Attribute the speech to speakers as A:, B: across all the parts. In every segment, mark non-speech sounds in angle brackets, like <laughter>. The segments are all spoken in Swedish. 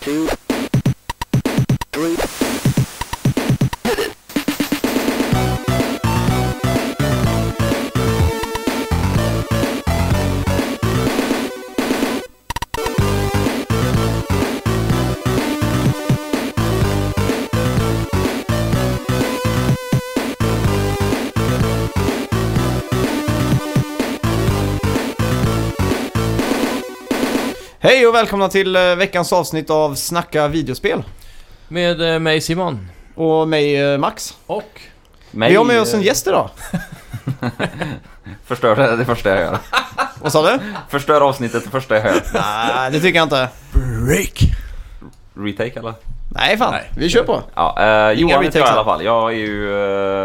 A: two, three.
B: Hej och välkomna till eh, veckans avsnitt av Snacka videospel.
C: Med eh, mig Simon.
B: Och mig eh, Max.
C: Och?
B: Vi har med oss en gäst idag.
D: Förstör det, det första jag gör.
B: Vad
D: <laughs>
B: sa du?
D: Förstör avsnittet det första jag gör.
B: Nej, det tycker jag inte.
C: Break!
D: Retake eller?
B: Nej fan,
C: Nej.
B: vi kör på.
D: Ja, eh,
B: Inga
D: Johan heter jag
B: retakes,
D: i alla fall. Jag är ju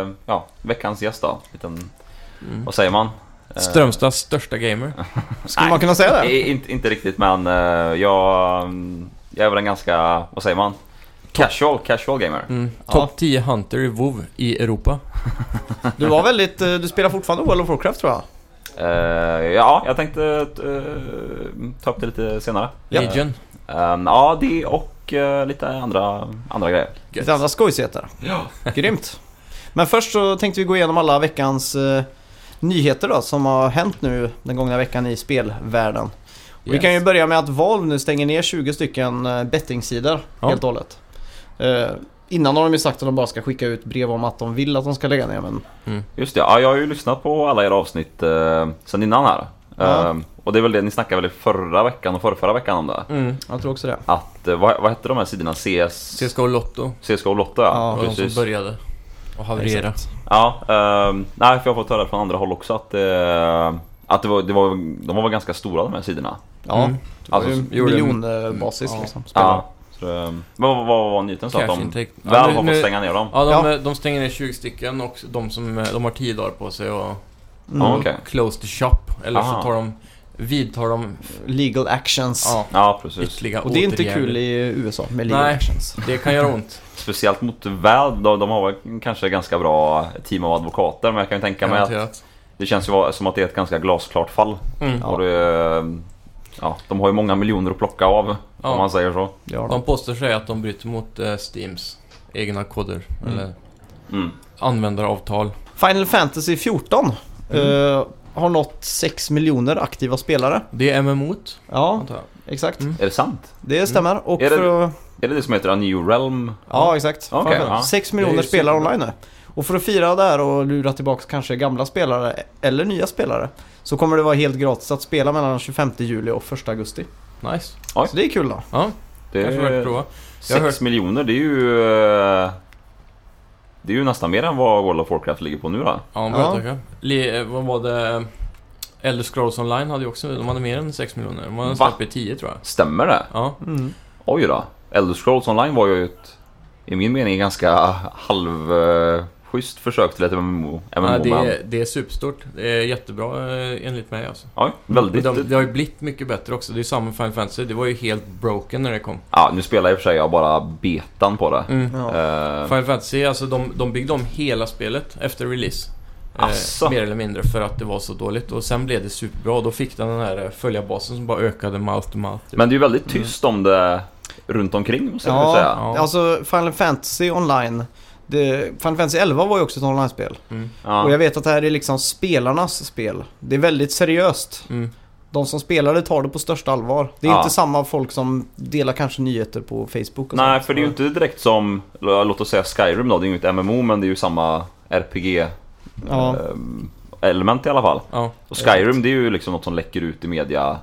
D: eh, ja, veckans gäst då. Liten, Vad säger man? Eh,
C: Strömstads största gamer.
B: Skulle
D: Nej.
B: man kunna säga det?
D: i- inte, inte riktigt men eh, jag, mm, jag är väl en ganska, vad säger man? Casual, casual gamer.
C: Mm.
B: Ja.
C: Topp 10 Hunter i WoW i Europa.
B: Du var väldigt, eh, du spelar fortfarande World of Warcraft tror jag.
D: Eh, ja, jag tänkte eh, ta upp det lite senare.
B: Ja.
C: Legion.
D: Eh, ja, det och eh, lite andra, andra grejer.
B: Lite andra skojsigheter. Ja. Grymt. Men först så tänkte vi gå igenom alla veckans eh, nyheter då som har hänt nu den gångna veckan i spelvärlden. Och Vi
C: Yes.
B: kan ju börja med att Valve nu stänger ner 20 stycken eh, bettingsidor
C: Ja.
B: helt och hållet. Eh, innan har de ju sagt att de bara ska skicka ut brev om att de vill att de ska lägga ner men
D: Just det, ja, jag har ju lyssnat på alla era avsnitt eh, sen innan här.
B: Ja.
D: Eh, och det är väl det ni snackade väl i förra veckan och förra, förra veckan om det?
C: Mm.
B: jag tror också det.
D: Att, eh, vad, vad hette de här sidorna? CS,
C: CSGO Lotto.
D: CSGO och Lotto
B: Ja,
D: ja.
C: var de som
D: precis.
C: började. Och haverera.
D: Ja, eh, nej för jag har fått höra från andra håll också att, eh, att det var, det var, de var väl ganska stora de här sidorna.
B: Ja,
C: Mm.
B: det var
D: Alltså,
B: ju
C: gjorde-
B: miljonbasis
C: Ja.
B: liksom. spelare.
D: Ja. Så, eh, vad, vad, vad var nyheten sa? Att
C: Cash
D: de väl
C: intake. Ja, nu-
D: har
C: nu-
D: fått stänga ner dem?
C: Ja, de,
B: Ja.
C: eh, de stänger ner 20 stycken och de, som, eh, de har 10 dagar på sig och
B: Mm.
D: Ja, okej.
C: close the shop. Eller så
D: Aha.
C: tar de, vidtar de,
B: Legal actions.
C: ja,
D: Ja, precis.
C: ytterligare
B: Och det är inte
C: åtgärder.
B: kul i USA med legal
C: Nej.
B: actions.
C: Det kan göra ont.
D: Speciellt mot Valve, de, de har väl kanske ganska bra team av advokater men jag kan ju tänka mig att
C: Garanterat.
D: Det känns ju vara- som att det är ett ganska glasklart fall.
C: Mm.
B: Ja.
D: Och det, eh, ja, de har ju många miljoner att plocka av,
C: Ja.
D: om man säger så.
B: Det har de.
C: De påstår sig att de bryter mot eh, Steams egna koder. Eller
D: Mm.
C: användaravtal.
B: Final Fantasy 14
C: Mm.
B: eh, har nått 6 miljoner aktiva spelare.
C: Det är MMO't,
B: Ja,
C: antar jag.
B: exakt.
C: Mm.
D: Är det sant?
B: Det stämmer. Och
D: Är det-
B: för att,
D: Är det det som heter A New Realm?
B: ja, exakt.
D: Okej,
B: Fan,
D: ja.
B: 6
C: Det
B: miljoner
C: är ju
B: spelare
C: superbra.
B: online nu. Och för att fira det här och lura tillbaka kanske gamla spelare eller nya spelare så kommer det vara helt gratis att spela mellan den 25 juli och 1 augusti.
C: Nice.
D: Oj.
B: Så det är kul då.
C: Ja,
D: Det
C: jag får väl
D: är
C: prova. Jag
D: 6
C: har hört-
D: miljoner, det är ju... eh, Det är ju nästan mer än vad World of Warcraft ligger på nu då.
C: Ja,
B: Ja.
C: bra tackar. Le- eh, Vad var det? Elder Scrolls Online hade ju också, de hade mer än 6 miljoner. De hade
D: Va?
C: snart i 10 tror jag.
D: Stämmer det?
C: Ja,
B: Mm.
D: Oj då. Elder Scrolls Online var ju ett, i min mening, ganska halv... eh, Schysst försök till ett MMO, MMO
C: ja det,
D: men...
C: är, det är superstort. Det är jättebra eh, enligt mig alltså.
D: Ja, väldigt...
C: Det, det har ju blivit mycket bättre också. Det är ju samma med Final Fantasy. Det var ju helt broken när det kom.
D: Ja, nu spelar jag i och för sig jag bara betan på det.
B: Ja.
D: Eh,
C: Final Fantasy, alltså de, de byggde om hela spelet efter release. Eh,
D: Asså.
C: mer eller mindre för att det var så dåligt och sen blev det superbra och då fick den den här eh, följarbasen som bara ökade mouth to mouth. typ.
D: Men det är ju väldigt tyst om det runt omkring måste jag
B: Mm. Ja.
D: säga.
C: Ja.
B: Alltså Final Fantasy online. Det, Final Fantasy 11 var ju också ett online-spel.
C: mm,
B: Och
D: Ja.
B: jag vet att det här är liksom spelarnas spel. Det är väldigt seriöst.
C: Mm.
B: De som spelar det tar det på största allvar. Det är
D: Ja.
B: inte samma folk som delar kanske nyheter på Facebook och
D: Nej,
B: sånt.
D: för det är ju inte direkt som, låt oss säga Skyrim då, det är ju ett MMO men det är ju samma RPG-element
B: Ja,
D: eh, i alla fall.
C: Ja,
D: Och Skyrim det är ju liksom något som läcker ut i media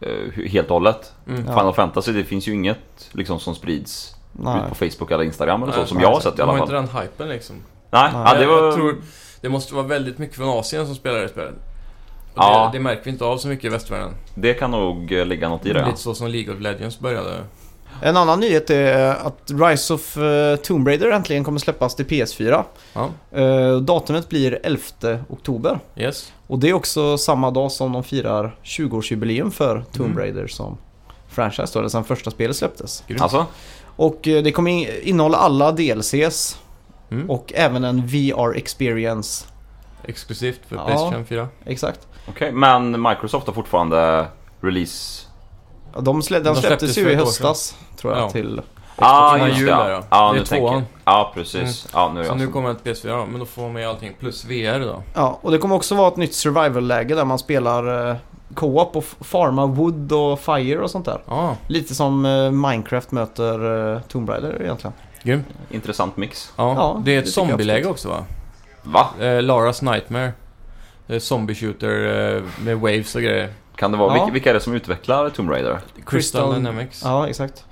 D: eh, helt och hållet.
C: Mm.
D: Final Fantasy det finns ju inget liksom som sprids
B: nej.
D: ut på Facebook eller Instagram eller så
C: Nej,
D: som
B: nej,
D: jag har
B: exakt.
D: sett i
C: de har
D: alla
C: inte
D: fall.
C: den hypen liksom.
D: Nej, ja, det var...
C: jag tror det måste vara väldigt mycket från Asien som spelar det spelet. Och
D: Ja.
C: det, det märker vi inte av så mycket i västvärlden.
D: Det kan nog eh, ligga något i det. ja.
C: Lite så som League of Legends började.
B: En annan nyhet är att Rise of eh, Tomb Raider äntligen kommer släppas till PS4.
C: Ja,
B: Eh, Datumet blir 11 oktober.
C: yes.
B: Och det är också samma dag som de firar 20-årsjubileum för Tomb
C: Mm.
B: Raider som franchise då, eller sen första spelet släpptes.
C: Grymt.
D: Alltså?
B: Och eh, det kommer in- innehålla alla DLCs
C: Mm.
B: och även en VR experience.
C: Exklusivt för
B: Ja.
C: Playstation 4.
B: Exakt.
D: Okej, men Microsoft har fortfarande release
B: Ja, de, slä, den
C: De
B: släpptes,
C: släpptes
B: ju
C: för
B: i
C: ett år
B: höstas, tror jag,
C: Ja.
B: till...
D: Ah,
C: Xbox
D: just
C: One
D: det.
C: Jul där,
D: Ja,
C: då.
D: ja
C: Det är
D: nu tänker jag.
C: tvåan.
D: Ja, precis. Ja, nu är alltså
C: Så
D: jag
C: nu
D: som-
C: kommer ett PS4 då, men då får man med allting plus VR då.
B: Ja, och det kommer också vara ett nytt survival-läge där man spelar eh, co-op och f- farma wood och fire och sånt där.
C: Ja,
B: Lite som eh, Minecraft möter eh, Tomb Raider egentligen.
C: grymt.
D: Intressant mix.
C: Ja,
B: Ja,
C: det är
B: det
C: ett
B: tycker jag
C: zombieläge
B: absolut.
C: också va?
D: Va?
C: Eh, Laras Nightmare. Eh, zombie shooter eh, med waves och grejer.
D: Kan det vara,
B: Ja.
D: vilka, vilka är det som utvecklar Tomb Raider?
C: Crystal Dynamics.
B: Ja, exakt.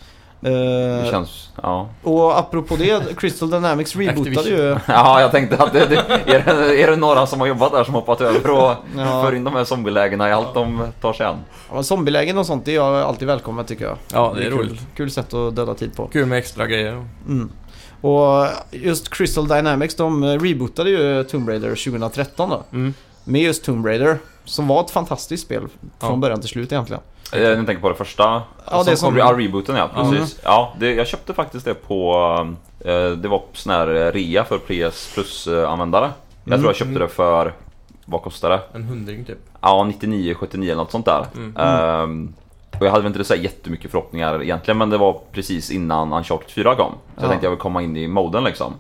B: Eh,
D: Det känns, ja. <laughs>
B: Och apropå det, Crystal
C: <laughs>
B: Dynamics rebootade ju...
D: Ja, jag tänkte att det, det, är, det, är det några som har jobbat där som hoppat över och
C: <laughs>
B: Ja.
D: för in de här zombielägena i allt de tar sig an?
B: Ja, zombielägen och sånt, det är jag alltid välkommen tycker jag.
C: Ja, det är
B: kul,
C: roligt.
B: Kul sätt att döda tid på.
C: Kul med extra grejer.
B: Mm. Och just Crystal Dynamics, de rebootade ju Tomb Raider 2013 då.
C: Mm.
B: Med just Tomb Raider, som var ett fantastiskt spel från
C: Ja.
B: början till slut egentligen.
D: Eh, Nu tänker jag på det första.
B: Ja, det är som...
D: kom, ja, rebooten ja,
C: Ja.
D: precis. Ja, det, jag köpte faktiskt det på... eh, Det var sån här eh, rea för PS Plus-användare. eh, Jag tror jag köpte det för... Vad kostade det?
C: En hundring typ.
D: Ja, 99, 79 eller något sånt där.
C: Mm.
D: Ehm, och jag hade väl inte så här jättemycket förhoppningar egentligen men det var precis innan Uncharted 4 kom. Så
B: Ja.
D: jag tänkte jag vill komma in i moden liksom.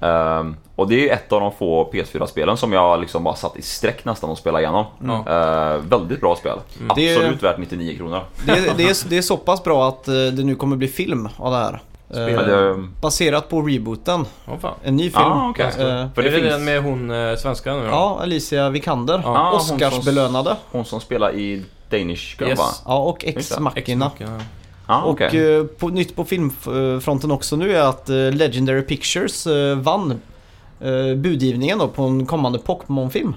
D: Ehm, och det är ju ett av de få PS4-spelen som jag liksom bara satt i sträck nästan och spelade igenom.
B: Mm.
C: Ja.
D: Ehm, väldigt bra spel.
B: Det är-
D: Absolut värt 99 kronor.
B: Det, det, är, det är så pass bra att eh, det nu kommer bli film av det här.
C: Spel.
B: Eh,
D: Men det,
B: Baserat på rebooten,
C: Ja, fan.
B: en ny film.
D: ah, okej.
B: Eh,
D: För det,
C: är det
D: finns
C: den med hon eh, svenskan nu då?
B: ja, Alicia Vikander.
C: Ja.
D: Ah, hon som-
B: Oscarsbelönade.
D: hon som spelar i Danish Girl
C: Yes.
D: va?
B: Ja, och
D: Just
B: Ex
D: det,
B: Machina.
C: Ex-Machina.
D: Ah,
B: Och
D: okej.
B: eh, på, nytt på filmfronten också nu är att eh, Legendary Pictures eh, vann eh, budgivningen då på en kommande Pokémon-film.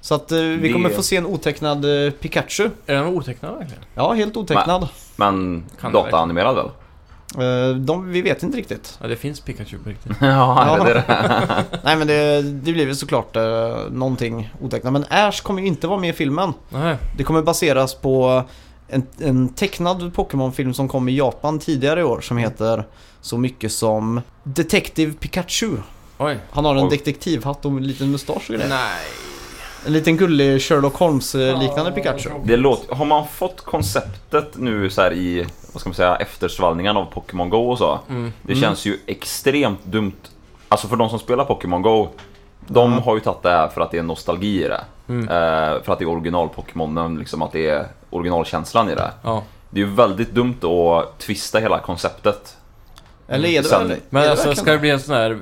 B: Så att eh, vi
D: Det-
B: kommer få se en otecknad eh, Pikachu.
C: Är den otecknad verkligen?
B: Ja, helt otecknad.
D: Men
C: Kan det
D: dataanimerad väl?
B: Eh, de, vi vet inte riktigt.
C: Ja, det finns Pikachu på riktigt.
D: <laughs> ja, det är det.
B: Nej men det, det blir väl såklart eh, någonting otecknat. Men Ash kommer ju inte vara med i filmen.
C: Nej.
B: Det kommer baseras på en, en tecknad Pokémon-film som kom i Japan tidigare i år som
C: Mm.
B: heter så mycket som Detective Pikachu.
C: Oj.
B: Han har en
D: Oj.
B: detektivhatt och en liten mustasch och grejer.
C: Nej.
B: En liten gullig Sherlock Holmes-liknande
C: Ja,
B: Pikachu.
C: bra.
D: Det låter, har man fått konceptet nu så här i, vad ska man säga, eftersvallningen av Pokémon Go och så.
C: Mm.
D: Det känns ju extremt dumt. Alltså för de som spelar Pokémon Go, de
B: Ja.
D: har ju tagit det här för att det är nostalgi i det.
C: Mm.
D: Eh, för att det är original-Pokémonen, liksom att det är originalkänslan i det.
C: Ja.
D: Det är ju väldigt dumt att twista hela konceptet.
B: Eller är det
D: Sen-
B: väl? är
C: Men
B: det
C: alltså,
B: verkligen
C: ska det bli en sån här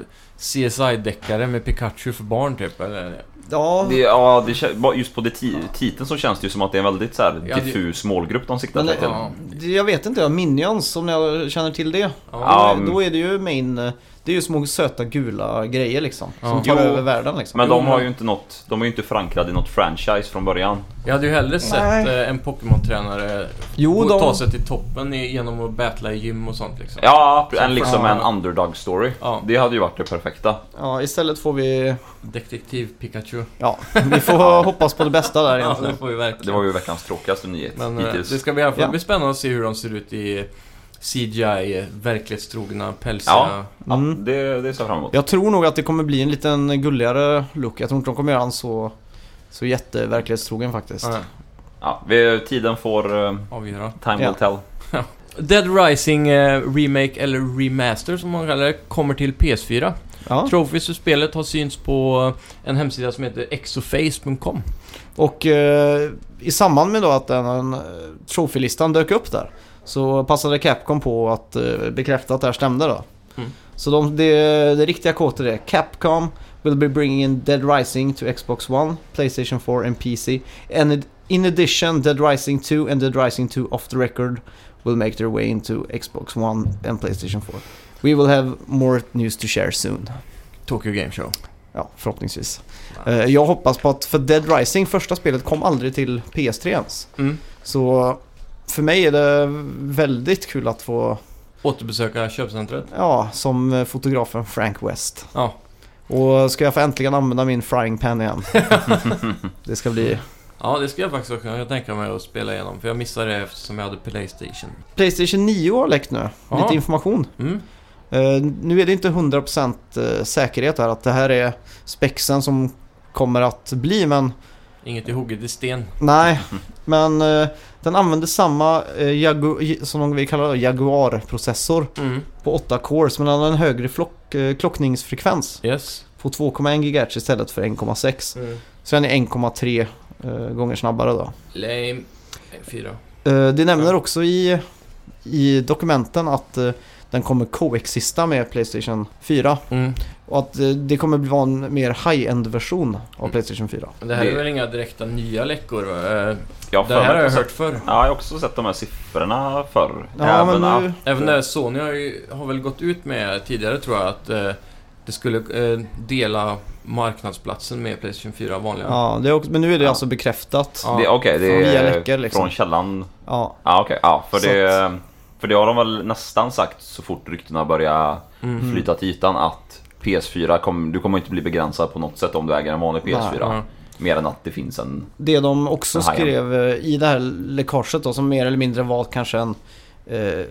C: CSI-deckare med Pikachu för barn typ, eller?
B: Ja,
D: Det, ja, det, kä- bara just på det ti- titeln så känns det ju som att det är en väldigt så här,
C: Ja, det-
D: diffus målgrupp de siktar
B: men
D: sig till.
C: ja.
B: det- jag vet inte. Minions, om jag känner till det.
D: Ja,
B: då, är, då är det ju main... eh, Det är ju små söta gula grejer liksom. Som
C: Ja.
B: tar
D: Jo.
B: över världen liksom.
D: Men
C: Jo,
D: de
C: men-
D: har ju inte något, de är ju inte förankrade i något franchise från början.
C: Jag hade ju hellre sett
B: Nej.
C: eh, en Pokémon-tränare
B: Jo,
C: gå-
B: de-
C: ta sig till toppen i- genom att battla i gym och sånt liksom.
D: Ja,
C: Som
D: en, liksom
C: fan.
D: en underdog story.
C: Ja.
D: Det hade ju varit det perfekta.
B: Ja, istället får vi...
C: Detektiv Pikachu.
B: Ja, vi får hoppas på det bästa där
C: Ja,
B: egentligen.
C: det får vi verkligen.
D: Det var ju veckans tråkigaste nyhet
C: Men eh, det
D: hittills.
C: ska bli i alla fall
B: Ja.
C: bli spännande att se hur de ser ut i CGI, eh, verklighetstrogna, pälsiga...
D: Ja.
B: Mm.
D: Ja, det, det ser jag fram emot.
B: Jag tror nog att det kommer bli en liten gulligare look. Jag tror inte de kommer göra han så, så jätteverklighetstrogen faktiskt.
C: Ja,
D: Ja, vi, tiden får... eh,
C: avgöra.
D: time
B: Ja.
D: will tell.
C: Dead Rising eh, Remake, eller Remaster som man kallar det, kommer till PS4.
B: Ja.
C: Trophies för spelet har synts på eh, en hemsida som heter exoface.com.
B: Och eh, i samband med då att den eh, trofélistan dök upp där så passade Capcom på att eh, bekräfta att det här stämde då.
C: Mm.
B: Så de, det, det riktiga kåtet är Capcom will be bringing in Dead Rising to Xbox One, Playstation 4 and PC. And it- in addition Dead Rising 2 and Dead Rising 2 off the record will make their way into Xbox One and Playstation 4. We will have more news to share soon.
C: Tokyo Game Show.
B: Ja, förhoppningsvis. Eh, Jag hoppas på att, för Dead Rising, första spelet kom aldrig till PS3 ens.
C: Mm.
B: Så för mig är det väldigt kul att få,
C: Återbesöka köpcentret.
B: <laughs> ja, som eh, fotografen Frank West.
C: Ja.
B: Och ska jag få äntligen använda min frying pan igen? det ska bli...
C: Ja, det ska jag faktiskt också kunna tänka mig att spela igenom, för jag missade det eftersom jag hade Playstation.
B: Playstation 9 har läckt nu,
C: Ja.
B: lite information.
C: Mm.
B: Eh, Nu är det inte 100% eh, säkerhet här att det här är spexen som kommer att bli, men
C: Inget är hugget i sten.
B: Nej, men eh, Den använde samma eh, Jagu- som de vill kalla det, Jaguar-processor
C: Mm.
B: på 8 cores men den hade en högre flock, eh, klockningsfrekvens
C: Yes.
B: på 2,1 GHz istället för 1,6.
C: Mm.
B: Så den är 1,3 eh, gånger snabbare då.
C: Lame. Fyra.
B: Eh, Det nämner
C: Ja.
B: också i, i dokumenten att eh, den kommer coexista med Playstation 4
C: Mm.
B: och att eh, det kommer bli vara en mer high-end version av
C: Mm.
B: Playstation 4.
C: Men Det här är
D: Det-
C: väl inga direkta nya läckor? va? Eh,
D: Jag har
C: Det
D: för
C: här
D: mig
C: har jag
D: att jag
C: hört förr.
D: Ja, jag har också sett de här siffrorna förr.
B: Ja, men
D: att-
B: nu-
C: Även där Sony har, ju, har väl gått ut med tidigare tror jag att eh, det skulle eh, dela marknadsplatsen med Playstation 4 vanliga.
B: Ja, det är också, men nu är det
D: Ja.
B: alltså bekräftat. Ja,
C: Ja.
D: det- Okej, det
B: Via
D: är
B: läckor, liksom.
D: från källan.
B: ja,
D: Ja, okej. Ja, för
B: Så
D: det... För det har de väl nästan sagt så fort ryktena börjar
C: Mm.
D: flyta till ytan att PS4, kom, du kommer inte bli begränsad på något sätt om du äger en vanlig PS4.
C: Ja.
D: Mer än att det finns en...
B: det de också
D: Den här, ja.
B: skrev eh, i det här läckaget då, som mer eller mindre var kanske en, eh,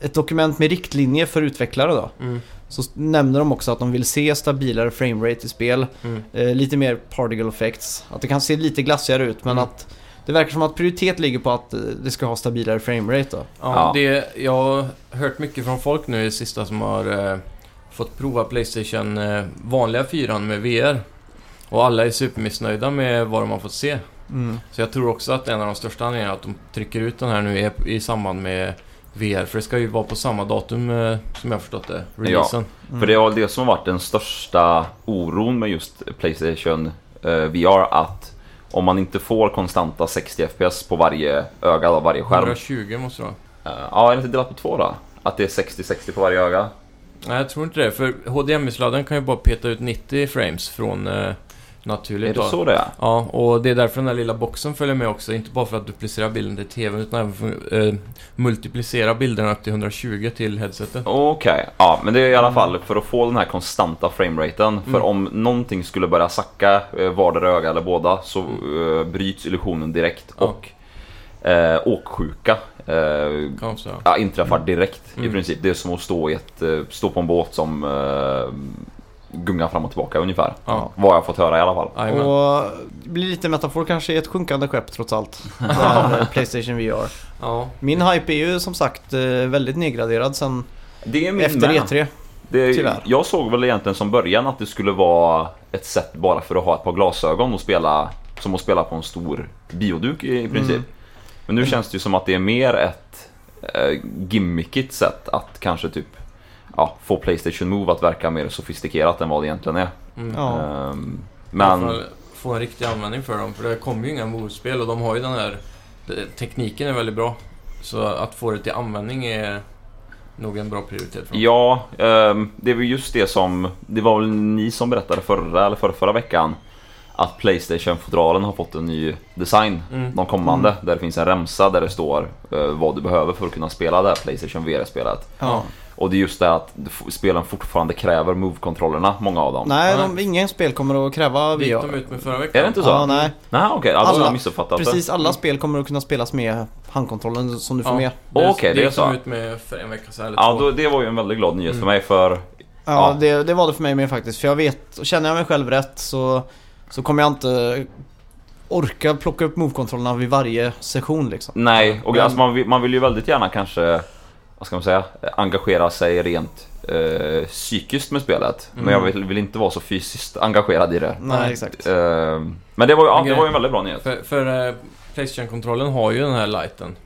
B: ett dokument med riktlinjer för utvecklare då.
C: Mm.
B: Så s- nämner de också att de vill se stabilare framerate i spel,
C: Mm.
B: eh, lite mer particle effects. Att det kan se lite glassigare ut men
C: Mm.
B: att det verkar som att prioritet ligger på att eh, det ska ha stabilare framerate då.
C: Ja,
D: Ja.
C: Det, jag har hört mycket från folk nu i sista som har eh, fått prova Playstation eh, vanliga 4 med VR. Och alla är supermissnöjda med vad de har fått se. Så jag tror också att en av de största anledningarna att de trycker ut den här nu är i samband med VR. För det ska ju vara på samma datum eh, som jag har förstått det, releasen.
B: Mm.
D: För det var det som har varit den största oron med just Playstation eh, VR att om man inte får konstanta 60 FPS på varje öga, då, varje skärm.
C: 120 måste det vara.
D: Eh, ja, är det inte delat på två då? Att det är 60-60 på varje öga?
C: Nej, jag tror inte det. För HDMI-sladden kan ju bara peta ut 90 frames från eh, naturligt.
D: Är det
C: då.
D: så det är?
C: Ja, och det är därför den där lilla boxen följer med också. Inte bara för att duplicera bilden till TVn utan även för att eh, multiplicera bilderna upp till 120 till headsetet.
D: Okej, ja men det är i alla fall för att få den här konstanta frameraten. För
C: Mm.
D: om någonting skulle börja sacka, eh, vardera öga eller båda, så eh, bryts illusionen direkt
C: Ja.
D: och eh, åksjuka eh,
C: Kan man säga.
D: ja, inträffar direkt
C: Mm.
D: i princip. Det är som att stå, i ett, eh, stå på en båt som eh, gungar fram och tillbaka ungefär.
C: Ja.
D: Vad jag har fått höra i alla fall.
C: Jajamän.
B: Och det blir lite metafor kanske i ett sjunkande skepp trots allt. Det här med Playstation VR.
C: Ja.
B: Min hype är ju som sagt eh, väldigt nedgraderad sen
D: Det är min
B: efter
C: E
B: E
D: med.
B: E3.
D: Det,
B: Tyvärr.
D: jag såg väl egentligen som början att det skulle vara ett sätt bara för att ha ett par glasögon och spela som att spela på en stor bioduk
C: Mm.
D: i princip. Men nu känns det ju som att det är mer ett eh, gimmickigt sätt att kanske typ ja, få Playstation Move att verka mer sofistikerat än vad det egentligen är.
C: Mm.
B: Ja.
D: Ehm,
C: I
D: men
C: alla fall Få en riktig användning för dem. För det kommer ju inga motspel och de har ju den här... de- Tekniken är väldigt bra. Så att få det till användning är nog en bra prioritet för dem.
D: ja, ehm, det är väl just det som, det var väl ni som berättade förra eller förra, förra veckan att Playstation-fodralen har fått en ny design.
C: Mm.
D: de kommande där det finns en remsa där det står eh, vad du behöver för att kunna spela det här Playstation VR-spelet.
B: Ja.
D: Och det är just det att f- spelen fortfarande kräver move-kontrollerna, många av dem.
B: Nej, de,
C: Nej.
B: ingen spel kommer att kräva VR.
C: Det gick de ut med förra veckan.
D: Är det inte så?
B: Ja, nej.
D: Nej, okej, alla
B: Alla-
D: har missuppfattat
B: Precis alla
C: Mm.
B: spel kommer att kunna spelas med handkontrollen som du får
C: Ja,
B: med.
C: det, det
D: Okej, det är
C: gick de
D: så.
C: ut med för en vecka sedan eller
D: det. Ja,
C: två.
D: då, det var ju en väldigt glad nyhet
C: Mm.
D: för mig för
B: Ja,
D: Ja.
B: Det, det var det för mig med faktiskt. För jag vet, och känner jag mig själv rätt så, så kommer jag inte orka plocka upp move-kontrollerna vid varje session liksom.
D: nej, och
B: Men-
D: alltså, man, vill, man vill ju väldigt gärna kanske, vad ska man säga, engagera sig rent eh, psykiskt med spelet. Men jag
C: Mm.
D: vill, vill inte vara så fysiskt engagerad i det.
B: Nej,
C: Nej.
B: exakt.
D: Ehm, men det var, ju- ja,
C: Men
D: det var ju en väldigt bra nyhet.
C: För, för eh, Playstation-kontrollen har ju den här lighten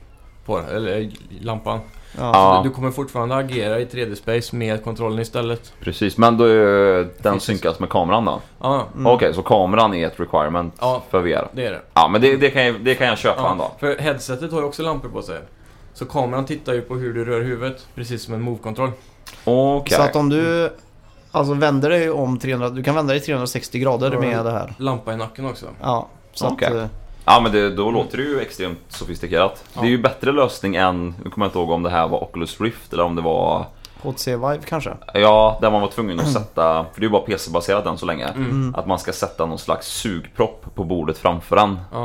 C: på eller eh, lampan.
B: Ja.
D: Ja.
C: Så Du, du kommer fortfarande agera i 3D-space med kontrollen istället.
D: Precis, men då, eh, den
C: Precis.
D: synkas med kameran då?
C: Ja,
B: Mm.
D: Okej, så kameran är ett requirement
C: Ja.
D: för VR?
C: det är det.
D: Ja, men det, det, kan, jag, det kan jag köpa
C: Ja,
D: ändå.
C: för headsetet har ju också lampor på sig. Så kameran tittar ju på hur du rör huvudet, precis som en move-kontroll.
D: Okej.
B: Så att om du alltså, vänder dig om 300, du kan vända dig 360 grader
C: Ja.
B: med det här.
C: Lampa i nacken också.
B: Ja, så att,
D: Okej.
B: eh,
D: Ja, men det, då låter det ju extremt sofistikerat.
C: Ja.
D: Det är ju bättre lösning än, nu kommer jag inte ihåg om det här var Oculus Rift eller om det var,
B: HTC Vive kanske?
D: ja, där man var tvungen att sätta, för det är ju bara PC-baserat än så länge.
C: Mm.
D: Att man ska sätta någon slags sugpropp på bordet framför en
C: Ja.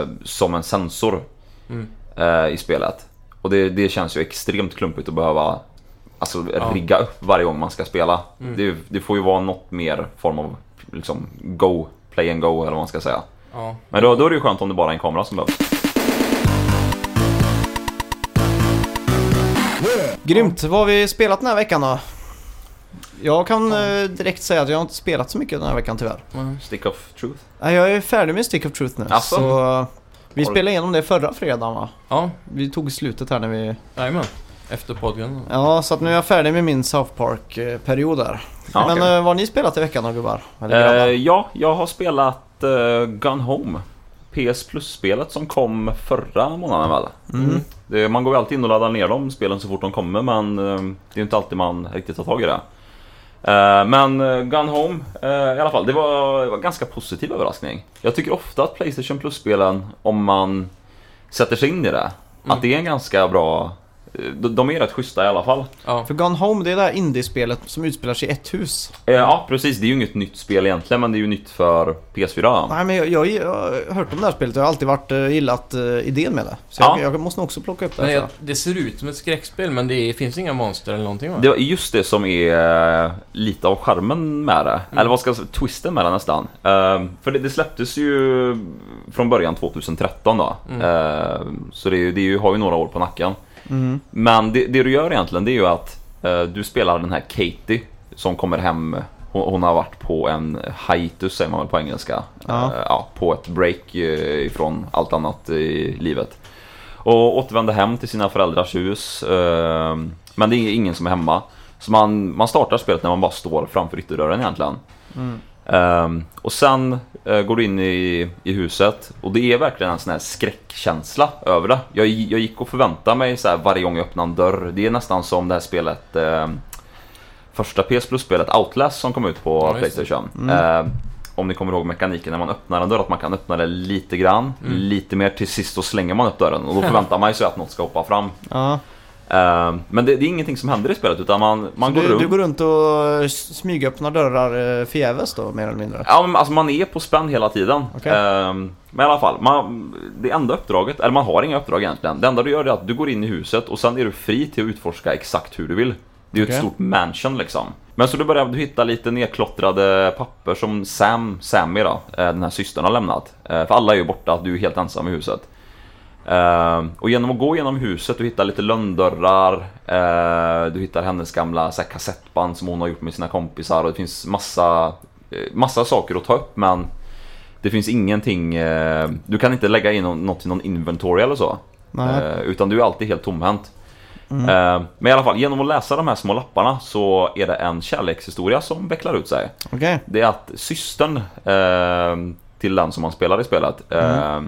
D: eh, som en sensor
C: Mm.
D: eh, i spelet. Och det, det känns ju extremt klumpigt att behöva alltså,
C: Ja.
D: rigga upp varje gång man ska spela.
C: Mm.
D: Det, det får ju vara något mer form av liksom, go, play and go eller vad man ska säga.
C: Ja.
D: Men då, då är det ju skönt om det bara är en kamera som behövs.
B: Grymt! Vad har vi spelat den här veckan då? Jag kan eh, direkt säga att jag har inte spelat så mycket den här veckan tyvärr.
C: Mm.
D: Stick of truth.
B: Nej, Jag är färdig med Stick of Truth nu.
D: Asså?
B: Så, eh, vi
D: Har du-
B: spelade igenom det förra fredagen va?
C: Ja,
B: Vi tog slutet här när vi...
C: jajamän. Efter podden.
B: Ja, så att nu är jag färdig med min South Park-period där.
D: Ja,
B: Men
D: okej.
B: eh, vad har ni spelat i veckan då gubbar? Eller
D: Eh,
B: grabbar?
D: ja, jag har spelat eh, Gun Home. PS Plus-spelet som kom förra månaden väl?
B: mm.
D: Det, man går ju alltid in och laddar ner de spelen så fort de kommer men eh, det är ju inte alltid man riktigt tar tag i det. Eh, men eh, Gun Home eh, i alla fall, det var, det var en ganska positiv överraskning. Jag tycker ofta att Playstation Plus-spelen, om man sätter sig in i det,
B: Mm.
D: att det är en ganska bra... eh, De, de är rätt schyssta i alla fall.
C: Ja.
B: För Gone Home, det är det här indiespelet som utspelar sig i ett hus.
D: Eh, ja, precis. Det är ju inget nytt spel egentligen men det är ju nytt för PS4.
B: Nej men jag, jag, jag har hört om det här spelet och jag har alltid varit, eh, gillat eh, idén med det. Så
D: Ja.
B: jag, jag måste nog också plocka upp det.
C: Men
B: här,
C: jag, det ser ut som ett skräckspel men det är, finns inga monster eller någonting va?
D: Det är just det som är eh, lite av charmen med det. Eller vad ska jag säga, twisten med det nästan. Eh, För det, det släpptes ju från början 2013 då. Eh, Så det, är ju- det är ju, har ju några år på nacken.
B: Mm.
D: Men det, det du gör egentligen det är ju att eh, du spelar den här Katie som kommer hem. Hon, hon har varit på en hiatus säger man väl på engelska.
B: Ja.
D: Eh, ja, på ett break eh, ifrån allt annat i livet. Och återvänder hem till sina föräldrars hus. eh, men det är ingen som är hemma. Så man, man startar spelet när man bara står framför ytterdörren egentligen.
B: Mm.
D: Ehm, och sen eh, går du in i, i huset och det är verkligen en sån här skräckkänsla över det. Jag, jag gick och förväntade mig så här varje gång jag öppnade en dörr. Det är nästan som det här spelet, eh, första PS Plus-spelet Outlast som kom ut på
C: Ja, just det.
D: Playstation.
B: Mm.
D: Ehm, om ni kommer ihåg mekaniken när man öppnar en dörr, att man kan öppna det lite grann,
C: Mm.
D: lite mer till sist så slänger man upp dörren
C: <laughs>
D: och då förväntar man sig att något ska hoppa fram.
B: Ja.
D: Ehm, men det, det är ingenting som händer i spelet utan man, man
B: Så
D: går
B: du,
D: runt.
B: du går runt och eh, smygöppnar dörrar eh, förgäves då mer eller mindre?
D: Ja, men alltså man är på spänn hela tiden.
B: Okej.
D: Ehm, men i alla fall, man, det enda uppdraget, eller man har inga uppdrag egentligen. Det enda du gör är att du går in i huset och sen är du fri till att utforska exakt hur du vill. Det är ju
B: Okej.
D: ett stort mansion liksom. Men så du börjar du hitta lite nedklottrade papper som Sam, Sammy då, eh, den här systern har lämnat. Eh, För alla är ju borta, du är helt ensam i huset. Ehm, och genom att gå genom huset, du hittar lite lönndörrar, eh, du hittar hennes gamla så här, kassettband som hon har gjort med sina kompisar och det finns massa, eh, massa saker att ta upp men det finns ingenting, eh, du kan inte lägga in nå- något i någon inventory eller så.
B: Nej.
D: Eh, utan du är alltid helt tomhänt.
B: Mm.
D: Eh, men i alla fall, genom att läsa de här små lapparna så är det en kärlekshistoria som vecklar ut sig.
B: Okej.
D: Det är att systern eh, till den som man spelar i spelet
B: Mm.
D: eh,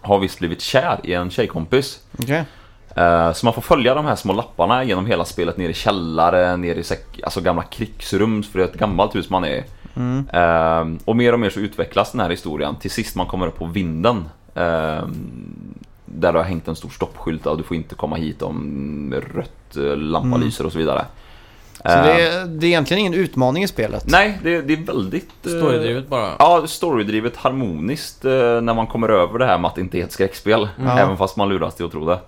D: har visst blivit kär i en tjejkompis.
B: Okej.
D: Eh, Så man får följa de här små lapparna genom hela spelet ner i källare, ner i säck- alltså gamla krigsrum för det är ett gammalt hus man är i.
B: Mm.
D: Eh, Och mer och mer så utvecklas den här historien till sist man kommer upp på vinden. eh, Där det har hängt en stor stoppskylt och du får inte komma hit om rött eh, lampa
B: Mm.
D: lyser och så vidare.
B: Så
D: Eh,
B: det är, det är egentligen ingen utmaning i spelet?
D: Nej, det, det är väldigt... eh,
C: Storydrivet bara.
D: Ja, storydrivet harmoniskt eh, när man kommer över det här med att det inte är ett skräckspel.
B: Ja.
D: Även fast man luras till att tro det.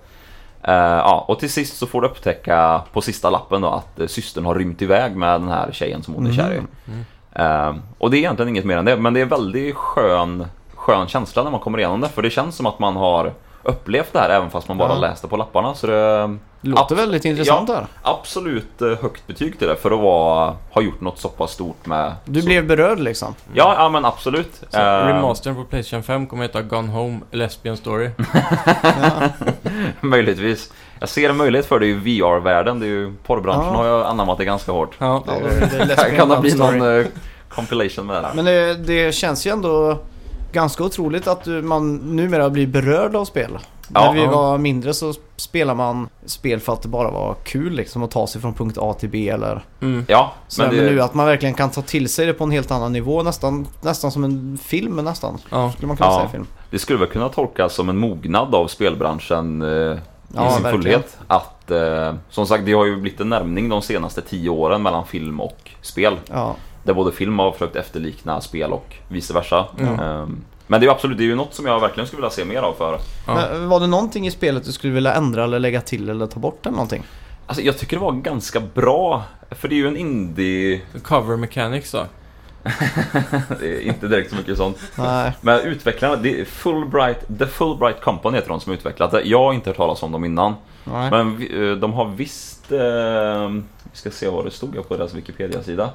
D: Eh, ja, och till sist så får du upptäcka på sista lappen då att eh, systern har rymt iväg med den här tjejen som hon är kär i.
B: Mm.
D: Eh, och det är egentligen inget mer än det, men det är väldigt skön, skön känsla när man kommer igenom det. För det känns som att man har upplevt det här även fast man bara
B: Ja.
D: läste på lapparna. Så det,
B: Det låter
D: Abs-
B: väldigt intressant där.
D: absolut eh, högt betyg till det för att vara, ha gjort något så pass stort med...
B: Du
D: så-
B: blev berörd liksom?
D: Ja, ja men absolut.
C: Så
D: Eh,
C: remastern på Playstation 5 kommer heta Gone Home Lesbian Story.
D: <laughs> Möjligtvis. Jag ser en möjlighet för det i VR-världen. Det är ju, porrbranschen
B: Ja.
D: har ju anammat det ganska hårt.
C: Ja.
B: Ja, då är
D: <laughs>
B: det
D: Här
B: lesbian
D: kan det
B: love
D: bli
B: story.
D: någon eh, compilation med det här.
B: Men det, det känns ju ändå ganska otroligt att du- man numera blir berörd av spel.
D: Ja.
B: När vi var mindre så spelar man spel för att det bara var kul liksom att ta sig från punkt A till B eller
C: Mm.
D: Ja,
B: så
D: men
B: men, nu
D: det,
B: att man verkligen kan ta till sig det på en helt annan nivå nästan, nästan som en film nästan.
C: Ja.
B: Skulle man kunna
D: Ja.
B: säga film.
D: det skulle väl kunna tolkas som en mognad av spelbranschen eh, i
B: Ja,
D: sin
B: verkligen.
D: fullhet. Att, eh, som sagt, det har ju blivit en närmning de senaste tio åren mellan film och spel.
B: Ja.
D: Där både film har försökt efterlikna spel och vice versa.
C: Mm.
D: Eh, men det är ju absolut det är ju något som jag verkligen skulle vilja se mer av för
C: Ja.
B: Men, eh, var det någonting i spelet du skulle vilja ändra eller lägga till eller ta bort eller någonting?
D: Alltså jag tycker det var ganska bra, för det är ju en indie
C: Cover Mechanics då.
D: det är inte direkt så mycket sånt.
B: Nej.
D: Men utvecklarna, det är Fulbright, The Fulbright Company heter de som har utvecklat det. Jag har inte hört talas om dem innan.
B: Nej.
D: Men vi- eh, de har visst... eh, Vi ska se vad det stod här på deras Wikipedia-sida.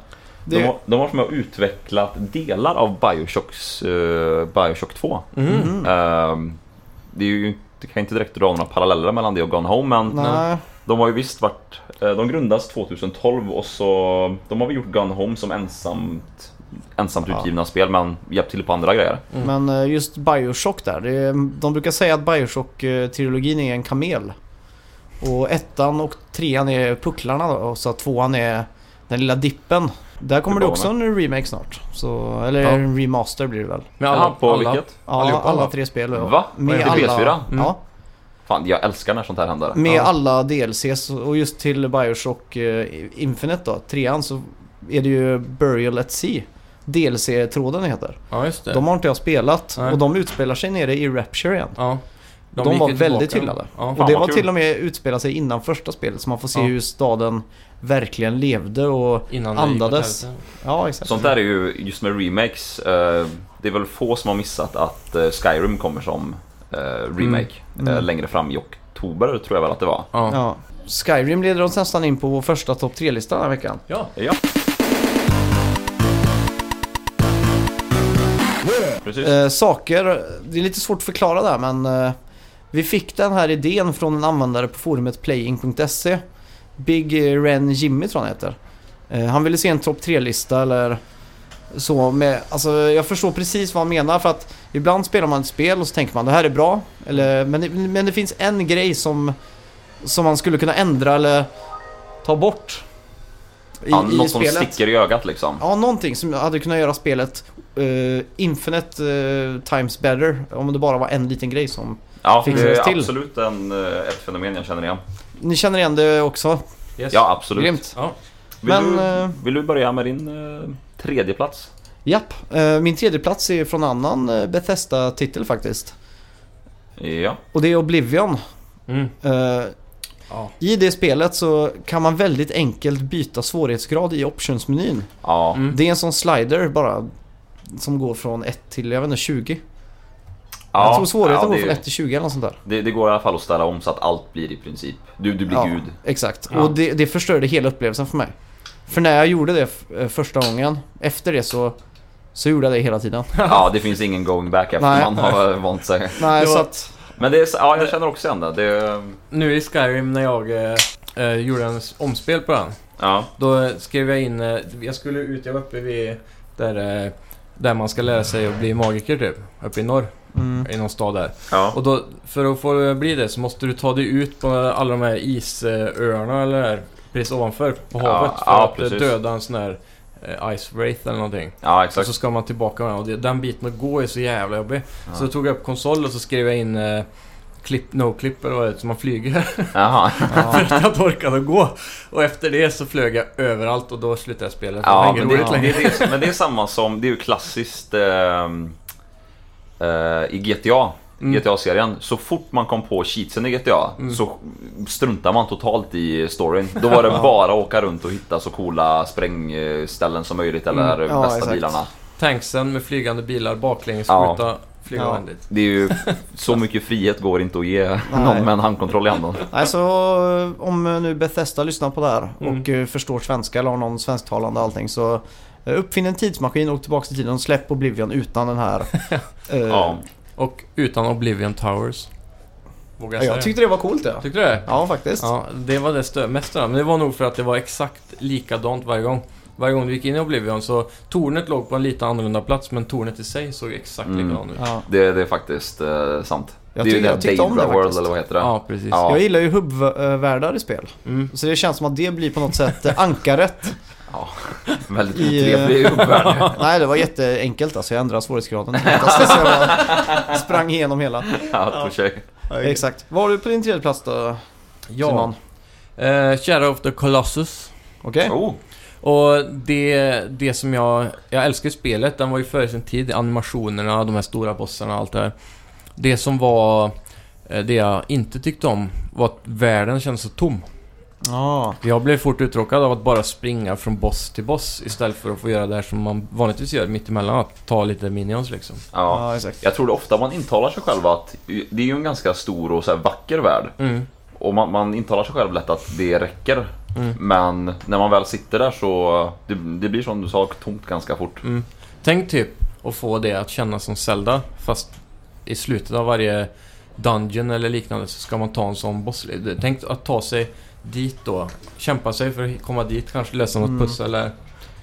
B: Det-
D: De, har, de har som jag utvecklat delar av Bioshocks, eh, Bioshock 2.
C: Mm.
D: Eh, det är ju, det kan inte direkt dra några paralleller mellan det och Gone Home men
B: Nej.
D: de har ju visst varit... eh, De grundades 2012 och så... De har väl gjort Gone Home som ensamt, ensamt
B: Ja.
D: utgivna spel men hjälpt till på andra grejer.
C: Mm.
B: Men eh, just Bioshock där. Det är, de brukar säga att Bioshock-trilogin är en kamel. Och ettan och trean är pucklarna då, och så att tvåan är den lilla dippen. Där kommer det också en remake snart. Så, eller
C: Ja.
B: en remaster blir det väl?
C: Med alla,
D: Jaha, på
C: alla,
D: vilket?
B: Ja,
C: Allihopa,
B: alla
C: va?
B: tre spel. ja.
D: Va?
B: Med
D: Till PS4?
B: alla,
C: Mm.
B: ja,
D: Fan, jag älskar när sånt här händer.
B: med
C: Ja.
B: alla DLCs och just till Bioshock eh, Infinite då, trean så är det ju Burial at Sea. DLC-tråden heter.
C: Ja, just det.
B: De har inte jag spelat
C: Nej.
B: och de utspelar sig nere i Rapture igen.
C: ja.
B: De
C: gick
B: var
C: ju tillbaka.
B: väldigt hyllade.
C: Ja.
B: och det
D: vad
B: var
D: kul.
B: till och med utspela sig innan första spelet så man får se
C: Ja.
B: hur staden verkligen levde och...
C: Innan det gick åt
B: Andades.
C: helvete.
B: Ja, exakt.
D: Sånt där är ju, just med remakes, eh, det är väl få som har missat att eh, Skyrim kommer som eh, remake
B: Mm.
D: eh,
B: Mm.
D: längre fram i oktober tror jag väl att det var.
C: Ja.
B: Ja. Skyrim leder oss nästan in på vår första topp 3-lista den här veckan.
C: ja.
D: Ja. Precis.
B: Eh, saker, det är lite svårt att förklara där men eh, vi fick den här idén från en användare på forumet playing.se Big Ren Jimmy tror jag han heter. Eh, han ville se en topp 3-lista eller så med, alltså jag förstår precis vad han menar för att ibland spelar man ett spel och så tänker man det här är bra eller, men, det- men det finns en grej som, som man skulle kunna ändra eller ta bort i,
D: ja,
B: i
D: något som
B: spelet.
D: sticker i ögat liksom.
B: Ja, någonting som hade kunnat göra spelet eh, Infinite eh, times better. Om det bara var en liten grej som...
D: Ja, det
B: Fixades
D: är
B: till.
D: absolut en, eh, ett fenomen jag känner igen.
B: Ni känner igen det också?
C: Yes.
D: Ja, absolut.
B: Grymt.
C: Ja.
D: Vill,
B: Men, eh,
D: du, vill du börja med din eh, tredje plats?
B: Japp. Eh, min tredje plats är från en annan eh, Bethesda-titel faktiskt.
D: Ja.
B: Och det är Oblivion.
C: Mm.
B: Eh,
C: Ja.
B: I det spelet så kan man väldigt enkelt byta svårighetsgrad i optionsmenyn.
D: Ja.
C: Mm.
B: Det är en sån slider bara som går från 1 till, jag vet inte, 20.
D: ja.
B: jag tror svårigheten
D: ja,
B: går från
D: det,
B: 1 till 20 eller något sånt där.
D: det, det går i alla fall att ställa om så att allt blir i princip... Du, du blir
B: Ja, <laughs>
D: gud.
B: Exakt,
C: Ja.
B: och det, det förstörde hela upplevelsen för mig. För när jag gjorde det f- eh, första gången, efter det så, så gjorde jag det hela tiden.
D: Ja, det finns ingen going back efter
B: Nej.
D: man har <laughs> vant sig.
B: Nej,
C: Det var-
B: så att,
D: Men det är, ja, jag känner också igen det. det
C: Nu i Skyrim när jag eh, eh, gjorde en s- omspel på den.
D: ja.
C: Då eh, skrev jag in... Eh, jag skulle ut, jag var uppe vid... Där, eh, där man ska lära sig att bli magiker typ. Uppe i norr.
B: <laughs> mm,
C: I någon stad där.
D: Ja.
C: Och då, för att få bli det så måste du ta dig ut på alla de här isöarna eller där, precis ovanför på
D: Ja,
C: havet. för
D: ja,
C: att eh,
D: precis.
C: döda en sån här eh, Ice Wraith eller någonting.
D: ja,
C: Och
D: exakt.
C: så ska man tillbaka med den, och det, den biten att gå är så jävla jobbig.
D: Ja.
C: Så då tog jag upp konsol och så skrev jag in eh, Clip, no clip eller vad det är, så man flyger. <laughs>
B: Alltså,
D: Jaha.
C: För att jag inte orkade gå. Och efter det så flög jag överallt och då slutade jag spela. Det var
D: Ja,
C: inget
D: men det,
C: roligt
D: det,
C: längre.
D: det, är- men det är samma som, det är ju klassiskt ehm, eh, i GTA.
C: Mm.
D: GTA-serien, så fort man kom på cheatsen i GTA
C: Mm.
D: så struntar man totalt i storyn.
B: <laughs>
D: Då var det bara att åka runt och hitta så coola sprängställen som möjligt eller
B: Mm. Ja,
D: bästa
B: exakt.
D: bilarna.
C: Tanksen med flygande bilar baklänges,
D: Ja.
C: skjuta, flyga
B: Ja.
C: vänligt.
D: Det
B: <laughs>
D: är ju, så mycket frihet går inte att ge någon med en handkontroll i handen.
B: nej, så eh, om eh, nu Bethesda lyssnar på det här och
C: Mm.
B: eh, förstår svenska eller har någon svensktalande och allting så eh, uppfinn en tidsmaskin och tillbaka till tiden och släpp Oblivion utan den här... eh,
D: Ja.
C: Och utan Oblivion Towers.
B: ja,
C: Vågar jag säga
B: Jag tyckte det var coolt ja.
C: det? Tyckte du det?
B: Ja, faktiskt.
C: Ja, det var det stö- mest störande. Men det var nog för att det var exakt likadant varje gång. Varje gång du gick in i Oblivion så tornet låg på en lite annorlunda plats men tornet i sig såg exakt
D: Mm.
C: likadant ut.
B: Ja.
D: Det, det är faktiskt eh, sant.
B: Jag
D: det är
B: tyck-
D: ju
B: jag tyckte om
D: Daedra
B: det
D: World
B: faktiskt.
D: eller vad heter det?
C: Ja, precis.
D: Ja.
B: Jag gillar ju hubbvärldar i spel.
C: Mm.
B: Så det känns som att det blir på något sätt eh, ankaret.
D: Väldigt
B: I, eh,
D: otrevlig
B: <laughs>
D: uppvärld.
B: Nej, det var jätteenkelt alltså. Jag ändrade svårighetsgraden. Så jag bara sprang igenom hela.
D: Ja, för sig.
B: Exakt. Vad har du på din tredje plats då,
C: Ja.
B: Simon?
C: Eh, Shadow of the Colossus.
B: Okej?
D: Oh,
C: Och det, det som jag... Jag älskar ju spelet, den var ju före sin tid. Animationerna, de här stora bossarna och allt det här. Det som var... eh, Det jag inte tyckte om var att världen kändes så tom.
B: Ja,
C: Jag blev fort uttråkad av att bara springa från boss till boss istället för att få göra det här som man vanligtvis gör mittemellan, att ta lite minions liksom.
D: Ja.
B: ja exakt.
D: Jag tror det ofta man intalar sig själv att det är ju en ganska stor och så här vacker värld.
C: Mm.
D: Och man, man intalar sig själv lätt att det räcker.
C: Mm.
D: Men när man väl sitter där så det, det blir som du sa, tomt ganska fort.
C: Mm. Tänk typ att få det att kännas som Zelda, fast i slutet av varje dungeon eller liknande så ska man ta en sån boss. Tänk att ta sig dit då, kämpa sig för att komma dit, kanske lösa något
B: Mm.
C: pussel där.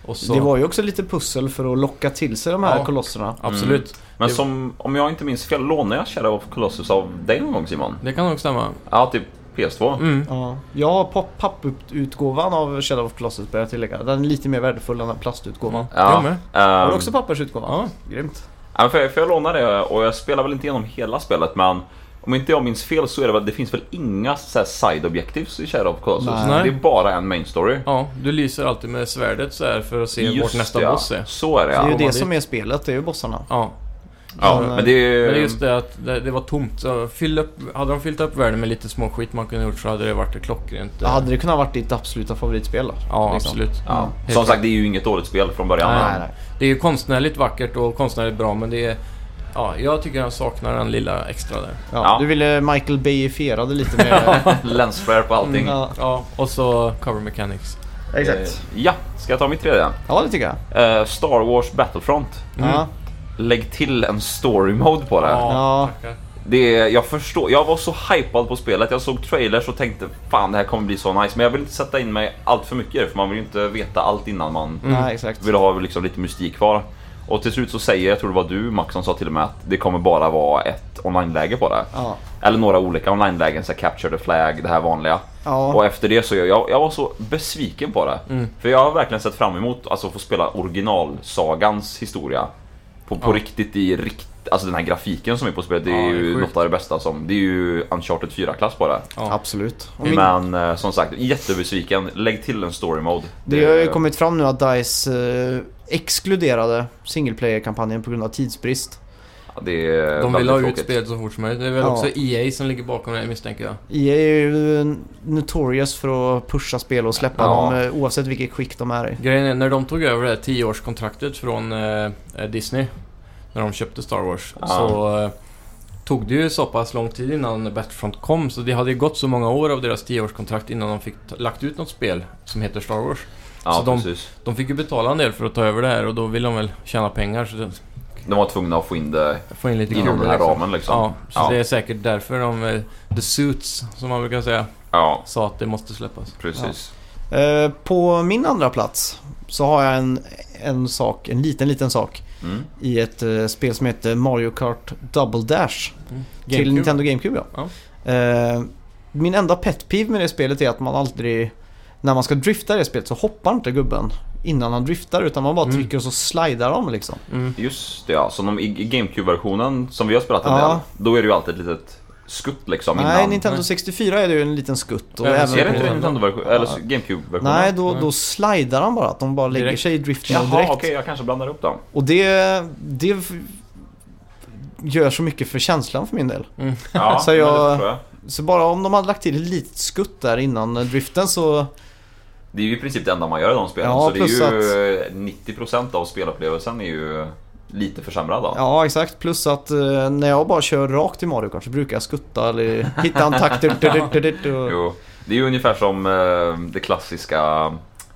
C: Och så,
B: Det var ju också lite pussel för att locka till sig de här
C: Ja.
B: kolosserna.
C: Absolut,
D: Men
C: Det-
D: som, om jag inte minns fel, lånade jag Shadow of Colossus av dig någon gång Simon?
C: det kan nog stämma.
D: Ja, typ PS2.
C: Mm.
B: Ja. Jag har pop- papputgåvan av Shadow of Colossus bör jag tillägga. Den är lite mer värdefull än den plastutgåvan.
D: Ja.
C: Jag med.
B: Har
D: Ehm,
B: du också pappersutgåvan?
C: Mm. Ja.
B: Grymt.
D: ja, men för, jag- för jag lånade det och jag spelar väl inte igenom hela spelet men om inte jag minns fel så är det väl, det finns väl inga så här side objectives i Shadow of Colossus?
B: Nej.
D: Det är bara en main story.
C: Ja, du lyser alltid med svärdet så här för att se vart nästa
D: ja.
C: boss är.
D: Så är det
B: det är
D: ja.
B: ju
C: man
B: det
C: dit.
B: som är spelet, det är ju bossarna.
C: Ja,
D: ja men det är,
B: Eh,
C: Men det är just det att det, det var tomt. Så fyll upp, hade de fyllt upp världen med lite småskit man kunde gjort så hade det varit klockrent.
B: Ja. Hade det kunnat varit ditt absoluta favoritspel då?
C: Ja,
B: liksom.
C: absolut.
D: Ja.
C: Helt
D: Som
C: klart.
D: sagt, det är ju inget dåligt spel från början.
C: Mm. Nej.
D: men-
B: Nej, nej.
C: Det är ju konstnärligt vackert och konstnärligt bra men det är... Ja, jag tycker jag saknar den lilla extra där.
B: Ja,
D: Ja.
B: Du ville Michael Bayifiera det lite mer.
D: <laughs> Lensflare på allting.
B: Mm, ja,
C: Ja, och så cover mechanics.
B: exakt.
D: Eh, Ja, ska jag ta mitt tredje?
B: Ja, det tycker jag.
D: Eh, Star Wars Battlefront.
C: Mm.
B: Ja.
D: Lägg till en story mode på det.
B: Ja.
C: tackar.
D: det är, jag förstår, jag var så hypad på spelet. Jag såg trailers och tänkte fan det här kommer bli så nice. Men jag vill inte sätta in mig allt för mycket i det, för man vill ju inte veta allt innan man
B: Nej, exakt.
D: vill ha liksom lite mystik kvar. Och till slut så säger, jag tror det var du Max som sa till och med att det kommer bara vara ett online-läge på det.
B: Ja.
D: Eller några olika online-lägen, så här, Capture the Flag, det här vanliga.
B: Ja.
D: Och efter det så, jag, jag, jag var så besviken på det.
C: Mm.
D: För jag har verkligen sett fram emot alltså, att få spela originalsagans historia. På, på
C: Ja.
D: riktigt i rikt, Alltså den här grafiken som är på spelet, det är
C: Ja, det är
D: ju
C: sjukt.
D: något av det bästa som... Det är ju Uncharted 4-klass på det.
C: Ja.
B: Absolut. Och min-
D: Men eh, som sagt, jättebesviken. Lägg till en story mode.
B: Det har ju kommit fram nu att DICE eh, exkluderade single player-kampanjen på grund av tidsbrist.
D: det är
C: De vill ha
D: väldigt
C: ut
D: tråkigt.
C: spelet så fort som möjligt. Det är väl
B: Ja.
C: också EA som ligger bakom det här, misstänker jag.
B: EA är ju notorious för att pusha spel och släppa
D: Ja.
B: dem eh, oavsett vilket skick de är i.
C: Grejen är, när de tog över det här 10-årskontraktet från eh, Disney, när de köpte Star Wars,
D: Ja.
C: så eh, tog det ju så pass lång tid innan Battlefront kom. Så det hade ju gått så många år av deras 10-årskontrakt innan de fick t- lagt ut något spel som heter Star Wars.
D: Ja,
C: så de-
D: precis.
C: De fick ju betala en del för att ta över det här och då vill de väl tjäna pengar så de
D: De var tvungna att få in det
C: får in lite
D: inom
C: kronor
D: den här
C: liksom.
D: ramen liksom.
C: Ja, så
D: Ja.
C: det är säkert därför de, eh, the suits som man brukar säga,
D: Ja,
C: sa att det måste släppas.
D: precis.
B: Eh, På min andra plats så har jag en, en sak, en liten, liten sak
D: Mm.
B: i ett eh, spel som heter Mario Kart Double Dash
C: Mm.
B: till
C: GameCube.
B: Nintendo GameCube. Ja. Eh, Min enda pet peeve med det spelet är att man aldrig, när man ska drifta i det spelet så hoppar inte gubben innan han driftar utan man bara
C: Mm.
B: trycker och så slidar de liksom.
C: Mm.
D: Just det ja, så de, i i GameCube-versionen som vi har spelat en
B: Ja.
D: del, då är det ju alltid ett litet skutt liksom
B: Nej,
D: innan.
B: Nintendo
C: Nej.
B: 64 är det ju en liten skutt. Och
C: Ja, men
B: även
D: Ser det
B: på...
D: inte det i Nintendo-versionen? Eller
B: Ja.
D: GameCube-versionen?
B: Nej, då,
C: Nej.
B: då slidar han bara. Att de bara lägger
C: Direkt.
B: sig i driften
D: Jaha,
B: direkt.
D: okej, jag kanske blandar
B: <laughs>
D: upp dem.
B: Och det, det f- gör så mycket för känslan för min del.
D: Ja,
B: Så
D: men det
B: jag-
D: förstår jag.
B: Så bara om de hade lagt till ett litet skutt där innan eh, driften så...
D: Det är ju i princip det enda man gör i de spelen,
B: Ja,
D: så det är
B: plus
D: ju 90% av spelupplevelsen är ju lite försämrad då.
B: Ja, exakt. Plus att eh, när jag bara kör rakt i Mario Kart så brukar jag skutta
D: <laughs>
B: eller hitta en takt. Du, du, du, du, du, och-
D: Jo, det är ju ungefär som eh, det klassiska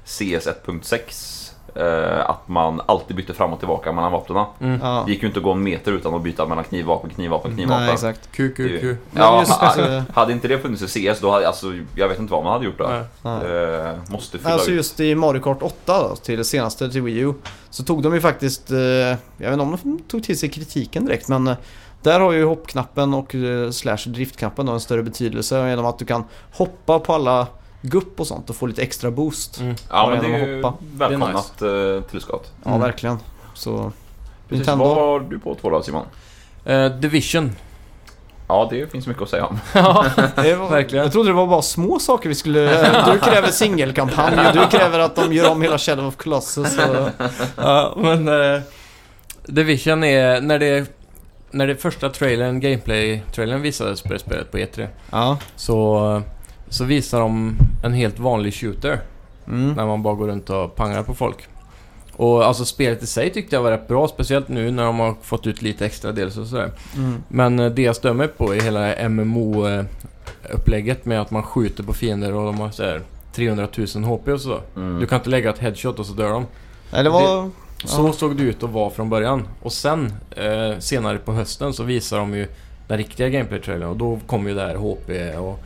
D: CS 1.6, eh, att man alltid bytte fram och tillbaka mellan vapnen.
B: Ja.
D: Det gick ju inte att gå en meter utan att byta mellan knivvapen, knivvapen, knivvapen.
B: Nej, exakt.
C: QQQ.
B: Men
D: Ja,
B: just,
D: ha-
B: eh,
D: hade inte det funnits i CS då hade, alltså, jag vet inte vad man hade gjort då.
C: Nej.
B: nej.
D: Eh, måste fylla
B: Alltså
D: ut.
B: just i Mario Kart 8 då, till det senaste till Wii U Så tog de ju faktiskt, eh, jag vet inte om de tog till sig kritiken direkt men eh, Där har ju hoppknappen och eh, slash driftknappen då en större betydelse genom att du kan hoppa på alla gupp och sånt och få lite extra boost
C: Mm.
D: Ja men
B: bara
D: det är
B: genom
D: ju
B: att hoppa.
D: välkomnat eh, tillskott.
B: Ja
C: Mm.
B: verkligen Så
D: Precis,
B: Nintendo.
D: vad har du på två då Simon?
C: Eh, Division. <laughs>
D: Ja det finns mycket att säga om. <laughs>
B: det var,
C: Verkligen.
B: Jag trodde det var bara små saker vi skulle Du kräver singelkampanj och du kräver att de gör om hela Shadow of Colossus och,
C: Ja, men eh, Division är när det när det första trailern, gameplay-trailern visades på det spelet på E3
B: Ja,
C: E så, så visar de en helt vanlig shooter.
B: Mm.
C: När man bara går runt och pangar på folk. Och alltså spelet i sig tyckte jag var rätt bra, speciellt nu när de har fått ut lite extra dels och sådär.
B: Mm.
C: Men eh, det jag stör mig på är hela MMO-upplägget med att man skjuter på fiender och de har såhär 300 000 HP och så.
D: Mm.
C: Du kan inte lägga ett headshot och så dör de.
B: Nej, det var...
C: Så
B: Ja.
C: såg det ut att vara från början. Och sen, eh, senare på hösten, så visar de ju den riktiga gameplay-trailern och då kommer ju det här HP och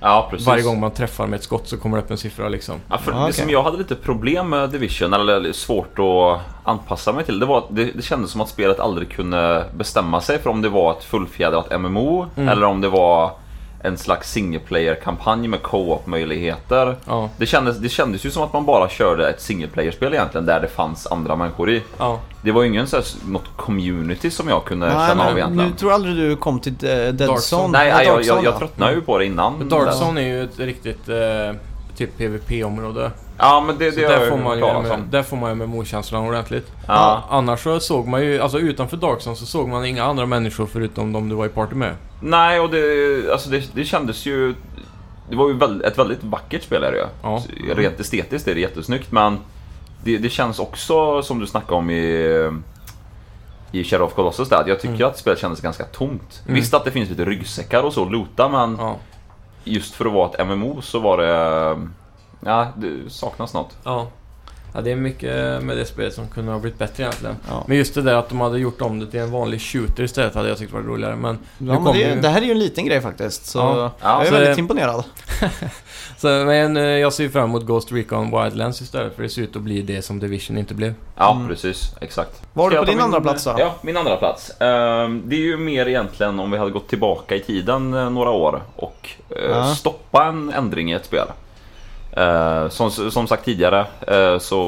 D: Ja, precis.
C: varje gång man träffar med ett skott så kommer det upp en siffra liksom.
D: Ja, för
B: Ja,
D: Det
B: okej.
D: som jag hade lite problem med Division, eller svårt att anpassa mig till, det var att det, det kändes som att spelet aldrig kunde bestämma sig för om det var ett fullfjädrat MMO
C: Mm.
D: eller om det var en slags single player-kampanj med co-op-möjligheter.
C: Ja,
D: Det kändes, det kändes ju som att man bara körde ett single player-spel egentligen, där det fanns andra människor i.
C: ja.
D: Det var ju ingen sån här, något community som jag kunde
B: Nej,
D: känna
B: men
D: av egentligen.
B: nu tror jag aldrig du kom till eh, Dead
C: Dark
B: Zone.
C: Zone.
D: Nej,
B: Ja,
D: jag, jag,
B: Dark Zone,
D: jag,
B: ja.
D: tröttnade ju på det innan.
C: Dark
D: där.
C: Zone är ju ett riktigt eh, typ PVP-område.
D: Ja, men det,
C: Så
D: det har
C: där
D: jag
C: får,
D: ju
C: man
D: hört
C: ju
D: talas
C: med,
D: om.
C: där får man ju MMO-känslan ordentligt.
D: Ja.
C: Annars så såg man ju, alltså utanför Dark Zone så såg man inga andra människor förutom de du var i party med.
D: Nej, och det, alltså det, det kändes ju... Det var ju väl- ett väldigt vackert spel är det ju.
C: Ja.
D: Så Rent estetiskt är det jättesnyggt, men det, det känns också som du snackade om i... I Shadow of Colossus där, att jag tycker att spelet kändes ganska tomt.
C: Mm.
D: Visst att det finns lite ryggsäckar och så att loota, men
C: Ja.
D: just för att vara ett MMO så var det... Ja, det saknas något.
C: Ja. ja, det är mycket med det spelet som kunde ha blivit bättre egentligen.
B: Ja.
C: Men just det där att de hade gjort om det till en vanlig shooter istället hade jag tyckt varit roligare. Men Nu
B: Ja, men
C: kommer
B: det,
C: ju-
B: det här är ju en liten grej faktiskt. Så
C: Ja.
D: Ja,
B: jag är
C: så
B: väldigt
C: det-
B: imponerad.
C: Så, men eh, jag ser ju fram emot Ghost Recon Wildlands istället för det ser ut att bli det som Division inte blev.
D: Ja,
B: Mm.
D: precis. Exakt.
B: Vad har du
D: Ska
B: på
D: jag ta
B: din
D: min-
B: andra plats då?
D: Ja, min andra plats. Ehm, Det är ju mer egentligen om vi hade gått tillbaka i tiden eh, några år och eh,
B: Ja.
D: stoppa en ändring i ett spel. Eh, Som, som sagt tidigare eh, så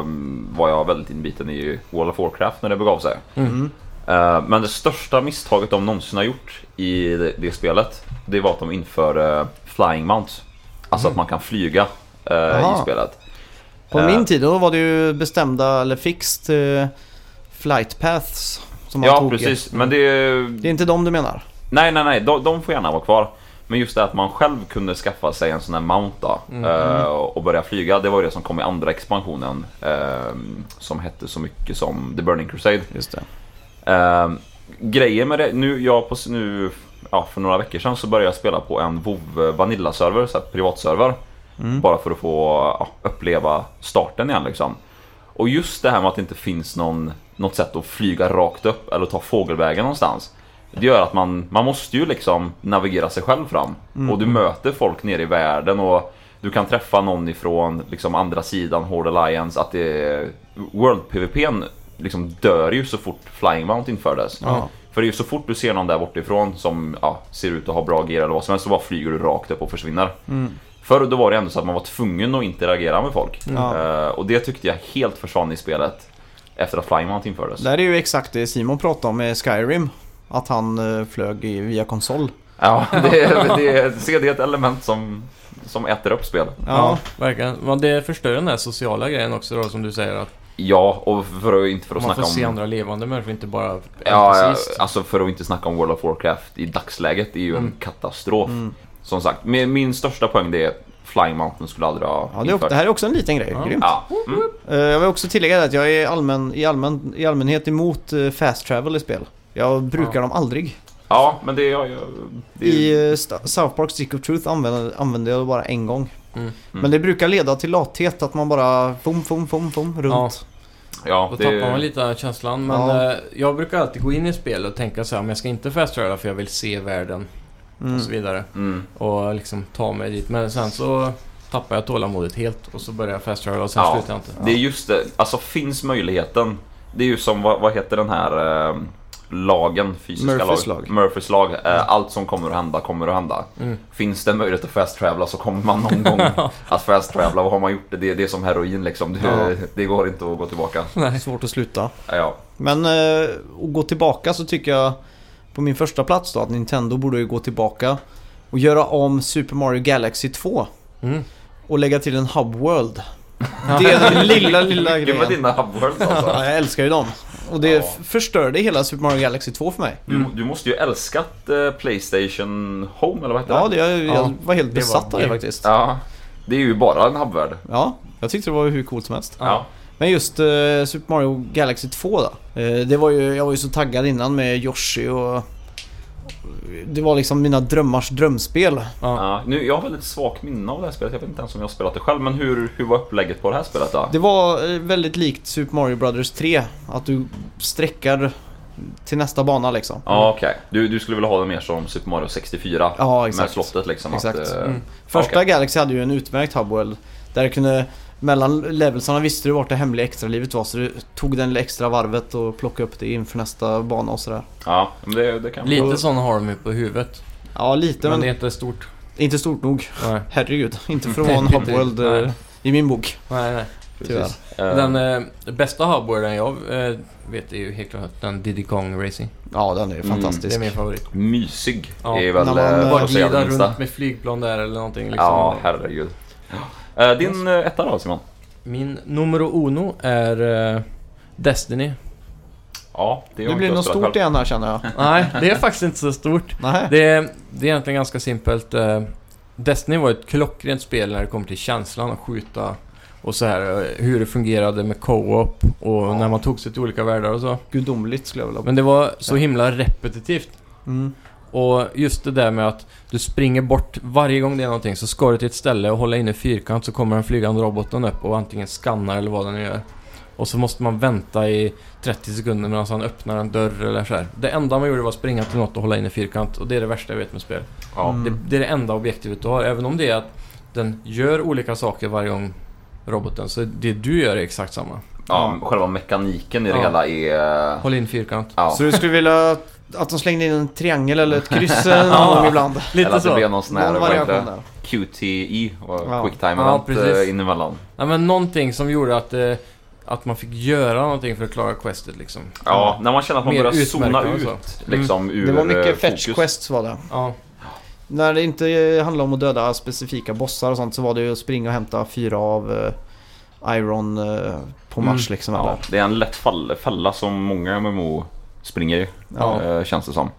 D: mm, var jag väldigt inbiten i World of Warcraft när det begav sig.
B: Mm.
D: Eh, Men det största misstaget de någonsin har gjort i det- det spelet Det var att de införde eh, Flying Mounts. Alltså att man kan flyga eh,
B: Mhm. Jaha.
D: i spelet.
B: På
D: Eh,
B: min tid då var det ju bestämda eller fixed eh, flight paths som man
D: Ja
B: tog.
D: precis, men det
B: Det är inte de du menar?
D: Nej, nej, nej. De, de får gärna vara kvar. Men just det att man själv kunde skaffa sig en sån här mount då, eh, och börja flyga. Det var ju det som kom i andra expansionen. eh, Som hette så mycket som The Burning Crusade.
B: Just det.
D: Eh, Grejen med det, nu, jag på, s- nu ja, för några veckor sedan så började jag spela på en WoW Vanilla server, så här privatserver. Bara för att få ja, uppleva starten igen liksom. Och just det här med att det inte finns någon, något sätt att flyga rakt upp eller ta fågelvägen någonstans. Det gör att man, man måste ju liksom navigera sig själv fram. Och du möter folk nere i världen och du kan träffa någon ifrån liksom andra sidan Horde Alliance. Att det, World PVP'n liksom dör ju så fort Flying Mount infördes.
B: Ja.
D: För det är ju så fort du ser någon där bortifrån som ja, ser ut att ha bra gear eller vad som helst så bara flyger du rakt upp och försvinner.
B: Mm.
D: Förr då var det ändå så att man var tvungen att interagera med folk.
B: Mm. Ja.
D: Eh, och det tyckte jag helt försvann i spelet efter att Flying Mount infördes.
B: Det här är ju exakt det Simon pratade om med Skyrim. Att han eh, flög i, via konsol.
D: Ja, <laughs> det, är- det, är- se, det är ett element som, som äter upp spel.
B: Ja.
C: verkligen. Men det förstör den här sociala grejen också då som du säger att
D: Ja, och för att inte för att
C: man får
D: snacka
C: se
D: om...
C: andra levande människor, inte bara
D: Ja, ja,
C: NPCs.
D: alltså för att inte snacka om World of Warcraft i dagsläget, det är
B: Mm.
D: ju en katastrof. Som sagt, min, min största poäng det är Flying Mountain skulle aldrig ha
B: Ja, det, är, också- det här är också en liten grej.
C: Ja.
B: Grymt.
D: Ja, mm.
B: Eh, Jag vill också tillägga att jag är allmän, i, allmän, i allmänhet emot eh, fast travel i spel. Jag brukar
C: Ja.
B: dem aldrig.
D: ja men det är jag ju- det är
B: I
D: ju...
B: eh, Sta- South Park Stick of Truth använde, använde jag det bara en gång.
C: Mm.
B: Men det brukar leda till lathet, att man bara fum, fum, fum, fum runt.
D: Ja,
C: Då
D: det
C: tappar man
D: är...
C: lite av känslan. Men
B: Ja.
C: eh, jag brukar alltid gå in i spel och tänka så här, men jag ska inte fast travela för jag vill se världen
B: Mm.
C: och så vidare.
D: Mm.
C: Och liksom ta mig dit. Men sen så tappar jag tålamodet helt och så börjar jag fast travela och sen
D: Ja.
C: slutar jag inte.
D: Det är just det, alltså finns möjligheten. Det är ju som, vad, vad heter den här eh, lagen? Fysiska
B: Murphys
D: lag.
B: lag. Mm.
D: Murphys lag. Eh, allt som kommer att hända kommer att hända.
C: Mm.
D: Finns det möjlighet att fast travela så kommer man
C: <laughs>
D: någon gång att fast travela. Vad har man gjort? Det, det är som heroin liksom. Det,
B: Ja.
D: <laughs> det går inte att gå tillbaka.
B: Svårt att sluta.
D: Ja,
B: Men eh, att gå tillbaka så tycker jag på min första plats då att Nintendo borde ju gå tillbaka och göra om Super Mario Galaxy 2
C: Mm.
B: och lägga till en Hub World. Det är den lilla,
C: <laughs>
B: lilla
D: Mycket med
B: grejen.
D: dina
B: <laughs>
D: hubworlds alltså.
B: Ja, jag älskar ju dem. Och det
D: Ja.
B: f- förstörde hela Super Mario Galaxy 2 för mig.
D: Du, du måste ju älskat eh, Playstation Home eller vad heter
B: Ja, det, jag, jag
C: Ja,
B: var helt
C: det var
B: besatt av det
C: grymt.
B: faktiskt.
D: Ja, Det är ju bara en hubvärld.
B: Ja, jag tyckte det var hur coolt som helst.
C: Ja.
B: Men just eh, Super Mario Galaxy 2 då. Eh, det var ju, jag var ju så taggad innan med Yoshi och... Det var liksom mina drömmars drömspel.
C: Ja.
D: Ja, nu, jag har väldigt svagt minne av det här spelet. Jag vet inte ens om jag har spelat det själv. Men hur, hur var upplägget på det här spelet då?
B: Det var eh, väldigt likt Super Mario Brothers 3. Att du sträckar till nästa bana liksom.
D: Ja, okej. Du, du skulle vilja ha det mer som Super Mario 64?
B: Ja,
D: Med
B: exakt.
D: slottet liksom.
B: Exakt.
D: Att, eh,
C: Mm.
B: Första
D: okej.
B: Galaxy hade ju en utmärkt hubwell. Där du kunde, mellan levelsarna visste du vart det hemliga extralivet var. Så du tog den lilla extra varvet och plockade upp det inför nästa bana och sådär.
D: Ja, men det, det kan
C: Lite sådana har de ju på huvudet.
B: Ja, lite
C: Men,
B: men,
C: det är inte stort.
B: inte stort nog.
C: Nej,
B: Herregud, inte för att
C: <laughs>
B: vara en hubworld eh,
C: Nej.
B: i min bok.
C: nej. nej.
B: Tyvärr.
D: Precis. Eh,
C: Den eh, bästa hubboarden jag eh, vet är ju helt klart den Diddy Kong Racing.
B: Ja, den
D: Mm.
B: är
C: Det
B: fantastisk.
C: är min favorit.
D: Mysig
C: Ja.
D: är väl
B: När
D: eh,
B: man, eh,
D: vad
C: Bara
D: jag säger,
C: glida
D: den minsta.
C: runt med flygplan där eller någonting liksom.
D: Ja, herregud. Eh, Din eh, etta då Simon?
C: Min numero uno är eh,
D: <laughs>
C: Destiny.
D: Ja, det har
B: Det
D: inte
B: blir
D: jag
B: något
D: spelat
B: stort
D: själv.
B: igen här känner
D: <laughs>
B: jag.
C: Nej, det är faktiskt inte så stort.
B: Nej.
C: Det är, det är egentligen ganska simpelt. eh, Destiny var ett klockrent spel när det kom till känslan att skjuta och så här eh, hur det fungerade med co-op och när man tog sig till olika världar och så.
B: Gudomligt skulle jag vilja
C: Men det var så himla repetitivt.
B: mm.
C: Och just det där med att du springer bort varje gång det är någonting så ska du till ett ställe och hålla inne fyrkant så kommer den flygande roboten upp och antingen skannar eller vad den nu gör. Och så måste man vänta i 30 sekunder medan han öppnar en dörr eller så här. Det enda man gjorde var att springa till något och hålla inne fyrkant och det är det värsta jag vet med spel.
D: Ja.
B: Mm.
C: Det, det är det enda objektivet du har. Även om det är att den gör olika saker varje gång roboten så det du gör är exakt samma.
D: Ja, själva mekaniken i det
C: Ja.
D: hela är... eh,
C: Håll in fyrkant.
D: Ja.
B: Så du skulle vilja att de slängde in en triangel eller ett
D: <laughs>
B: kryss eller någon
D: Ja.
B: gång ibland?
D: Eller
C: Lite
D: att det
C: så.
D: blir någon sån här,
B: Någon
D: vad heter
B: variation
D: det?
B: där.
D: QTE,
B: Ja.
D: och quick time
C: Ja,
D: event
C: precis.
D: eh, inemellan.
C: Nej, men någonting som gjorde att, eh, att man fick göra någonting för att klara questet liksom.
D: Ja, när man känner att man
C: Mer
D: börjar
C: utmärkande
D: zona
C: och
D: ut
C: så. Mm.
D: liksom ur
B: Det var
D: eh,
B: mycket
D: fokus.
B: fetch quests var det.
C: Ja,
B: När det inte eh, handlade om att döda specifika bossar och sånt så var det ju att springa och hämta fyra av eh, Iron eh, på
C: Mm.
B: Mars liksom.
D: Ja,
B: Eller?
D: det är en lätt fall, fälla som många MMO springer i,
B: Ja.
D: eh, känns det som.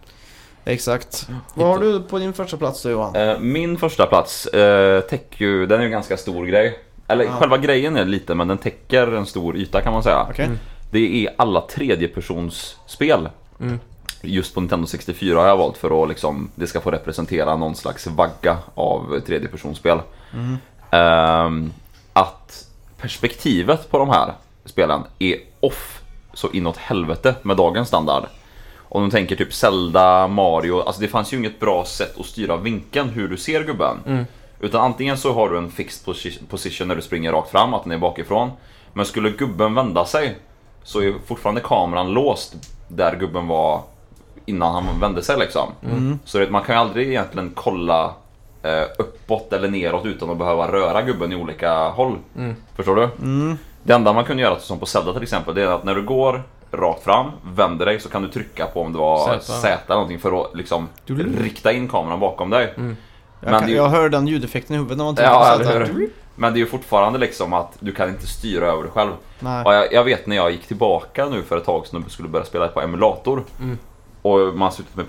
B: Exakt. Vad har du på din första plats då Johan?
D: Eh, Min första plats eh, täcker ju, den är ju en ganska stor grej. Eller
B: Ja.
D: själva grejen är lite, men den täcker en stor yta kan man säga.
B: Okej.
D: Det är alla tredjepersonsspel.
C: Mm.
D: Just på Nintendo 64 har jag valt för att liksom, det ska få representera någon slags vagga av tredjepersonsspel. Ehm, att perspektivet på de här spelen är off så inåt helvete med dagens standard. Om de tänker typ Zelda, Mario, alltså det fanns ju inget bra sätt att styra vinkeln hur du ser gubben. Utan antingen så har du en fixed posi- position när du springer rakt fram, att den är bakifrån. Men skulle gubben vända sig så är fortfarande kameran låst där gubben var innan han vände sig liksom.
B: Mm.
D: Så det, man kan ju aldrig egentligen kolla eh, uppåt eller neråt utan att behöva röra gubben i olika håll.
B: Mm.
D: Förstår du? Det enda man kunde göra, som på Zelda till exempel, det är att när du går rakt fram, vänder dig, så kan du trycka på om det var
C: Z.
D: Z eller någonting för att liksom
B: Du- Mm.
D: rikta in kameran bakom dig.
B: Jag, kan,
D: det-
B: jag hör den ljudeffekten i huvudet när man tänker
D: Ja,
B: på
D: eller
B: sånt
D: hur? Men det är ju fortfarande liksom att du kan inte styra över dig själv.
B: Nej.
D: Ja, jag, jag vet när jag gick tillbaka nu för ett tag sedan och skulle börja spela på emulator. Och man har suttit med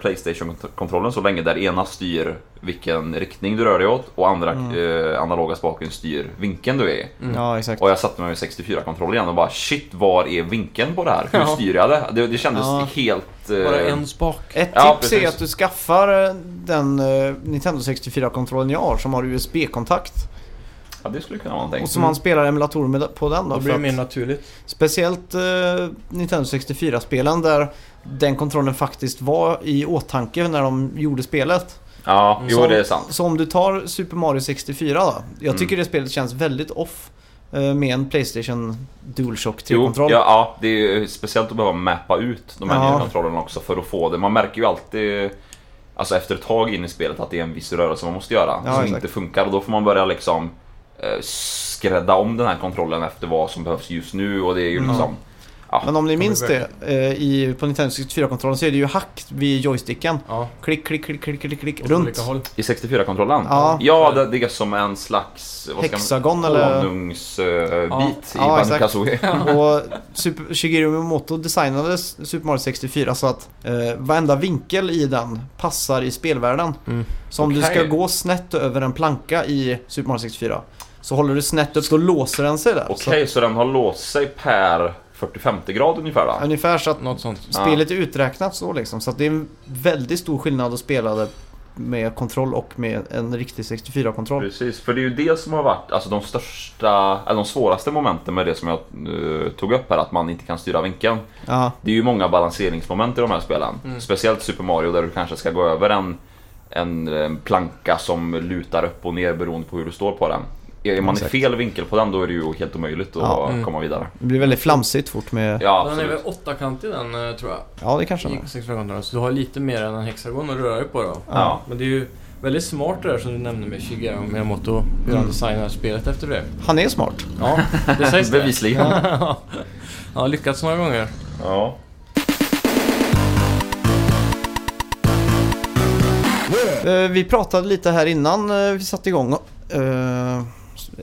D: Playstation-kontrollen så länge där ena styr vilken riktning du rör dig åt och andra eh, analoga spaken styr vinkeln du är i.
B: Ja, exakt.
D: Och jag satte mig med 64-kontroll igen och bara shit, var är vinkeln på det här? Hur
C: Ja.
D: styr jag det? Det, det kändes
B: Ja.
D: helt... eh,
C: bara en spak.
B: Ett
D: Ja,
B: tips är
D: precis.
B: att du skaffar eh, den eh, Nintendo 64-kontrollen jag har som har USB-kontakt.
D: Ja, det skulle kunna vara någonting.
B: Och så man spelar emulator med, på den då.
C: Då
B: för
C: blir det
B: att-
C: mer naturligt.
B: Speciellt eh, Nintendo 64-spelen där den kontrollen faktiskt var i åtanke när de gjorde spelet.
D: Ja, jo
B: Så-
D: det är sant.
B: Så om du tar Super Mario 64 då. Jag tycker det spelet känns väldigt off eh, med en Playstation DualShock
D: Jo, ja,
B: 3-kontroll.
D: ja, det är ju speciellt att behöva mäpa ut de här
B: Ja.
D: nya kontrollerna också för att få det. Man märker ju alltid Alltså efter ett tag in i spelet att det är en viss rörelse man måste göra
B: Ja,
D: som
B: exakt.
D: inte funkar och då får man börja liksom
B: Mm.
D: eh, skrädda om den här kontrollen efter vad som behövs just nu och det är ju liksom Ja,
B: Men om ni
C: kommer
B: minns det,
C: börja.
B: eh, i, på Nintendo 64-kontrollen så är det ju hack vid joysticken.
C: Ja,
B: Klick, klick, klick, klick, klick, klick,
C: åt
B: runt.
C: olika håll.
D: I 64-kontrollen?
B: Ja.
D: ja det, det är som en slags... Vad ska
B: Hexagon
D: man,
B: eller...
C: Ja.
D: honungsbit
B: Ja,
D: i
B: exakt.
D: Banjo-Kazooie.
B: <laughs>
D: <laughs>
B: Och Super, Shigeru Miyamoto designade S- Super Mario 64 så att eh, varenda vinkel i den passar i spelvärlden.
C: Mm.
B: Så om du
D: Okej.
B: ska gå snett över en planka i Super Mario 64 så håller du snett upp, så låser den sig där.
D: Okej,
B: Så,
D: så den har låst sig per 45 grad ungefär va?
B: ungefär så att
D: Mm.
C: Något sånt.
B: spelet är uträknat så liksom. Så att det är en väldigt stor skillnad att spela det med kontroll och med en riktig 64-kontroll.
D: Precis, för det är ju det som har varit alltså, de största, eller de svåraste momenten med det som jag eh, tog upp här, att man inte kan styra vinkeln.
B: Ja,
D: Det är ju många balanseringsmoment i de här spelen.
C: Mm.
D: Speciellt Super Mario där du kanske ska gå över en, en, eh, planka som lutar upp och ner beroende på hur du står på den. Är man
B: Exakt.
D: i fel vinkel på den då är det ju helt omöjligt att
B: Ja.
C: Mm.
D: komma vidare.
B: det blir väldigt flamsigt fort med...
D: Ja,
C: Den är väl
D: absolut.
C: åttakantig den eh, tror jag.
B: Ja, det kanske den
C: I
B: är.
C: 64 Så du har lite mer än en hexagon att röra dig på då.
D: Ja.
C: Men det är ju väldigt smart det där som du nämnde med Shigeru Miyamoto. Hur han
B: Mm.
C: designar spelet efter det.
B: Han är smart.
C: Ja, det
D: <laughs>
C: sägs det.
D: Bevisligen.
C: Ja, <laughs> Ja, lyckats några gånger.
D: Ja.
B: Eh, Vi pratade lite här innan eh, vi satte igång eh,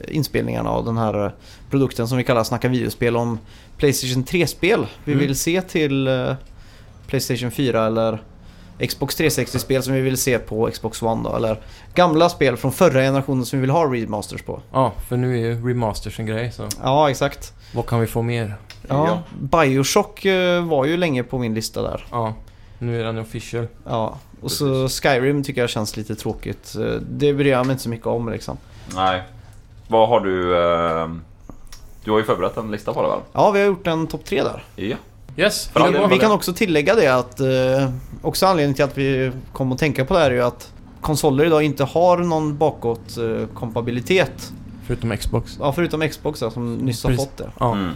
B: inspelningarna av den här eh, produkten som vi kallar Snacka videospel om Playstation 3-spel vi
C: Mm.
B: vill se till eh, Playstation 4 eller Xbox 360-spel som vi vill se på Xbox One då, eller gamla spel från förra generationen som vi vill ha remasters på.
C: Ja, för nu är ju remasters en grej så
B: Ja, exakt.
C: vad kan vi få mer?
B: Ja, Bioshock eh, var ju länge på min lista där.
C: Ja, nu är den official.
B: Ja, och så Skyrim tycker jag känns lite tråkigt. Eh, Det bryr jag mig inte så mycket om liksom.
D: Nej. Vad har du... Eh, du har ju förberett en lista på det väl?
B: Ja, vi har gjort en topp tre där.
D: Ja.
C: Yes!
D: Bra.
C: det var-
D: Ja,
B: Vi kan också tillägga det att eh, också anledningen till att vi kom att tänka på det här är ju att konsoler idag inte har någon bakåt eh, kompabilitet.
C: Förutom Xbox.
B: Ja, förutom Xbox då, som nyss har
C: Precis.
B: fått det.
C: Ja.
D: Mm.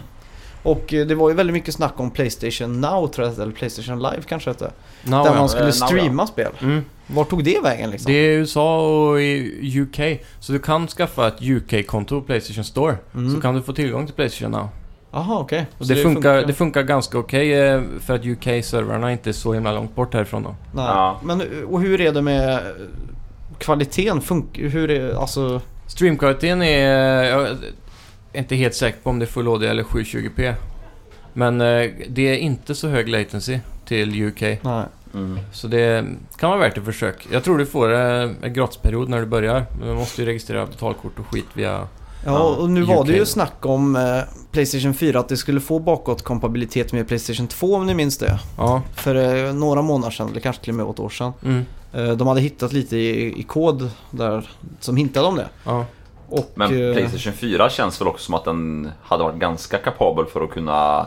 B: Och eh, det var ju väldigt mycket snack om Playstation Now tror jag, eller Playstation Live kanske det hette.
C: Now,
B: där
C: ja.
B: man skulle
D: Eh, Now, ja.
B: streama spel.
C: Mm.
B: Var tog det vägen liksom?
C: Det är i USA och i UK. Så du kan skaffa ett UK-konto på Playstation Store.
B: Mm.
C: Så kan du få tillgång till Playstation Now.
B: Jaha, okej.
C: Och
B: Så
C: det, funkar, det funkar ganska okej eh, för att UK-servrarna inte är så himla långt bort härifrån då.
B: Nej.
D: Ja.
B: Men eh, och hur är det med eh, kvaliteten? Funk hur är alltså...
C: Streamkvaliteten är... eh, Jag är inte helt säker på om det är Full HD eller 720p. Men eh, det är inte så hög latency till UK.
B: Nej.
D: Mm.
C: Så det kan vara värt ett försök. Jag tror du får eh, en gratisperiod när du börjar. Men Du måste ju registrera betalkort och skit via...
B: Ja, och nu var det
C: UK.
B: ju snack om eh, Playstation 4 att det skulle få bakåtkompatibilitet med Playstation 2 om ni minns det.
C: Ja.
B: För eh, några månader sedan, eller kanske till och med ett år sedan.
C: Mm.
B: Eh, de hade hittat lite i, i kod där som hintade om det.
C: Ja.
B: Och,
D: Men
B: eh,
D: Playstation 4 känns väl också som att den hade varit ganska kapabel för att kunna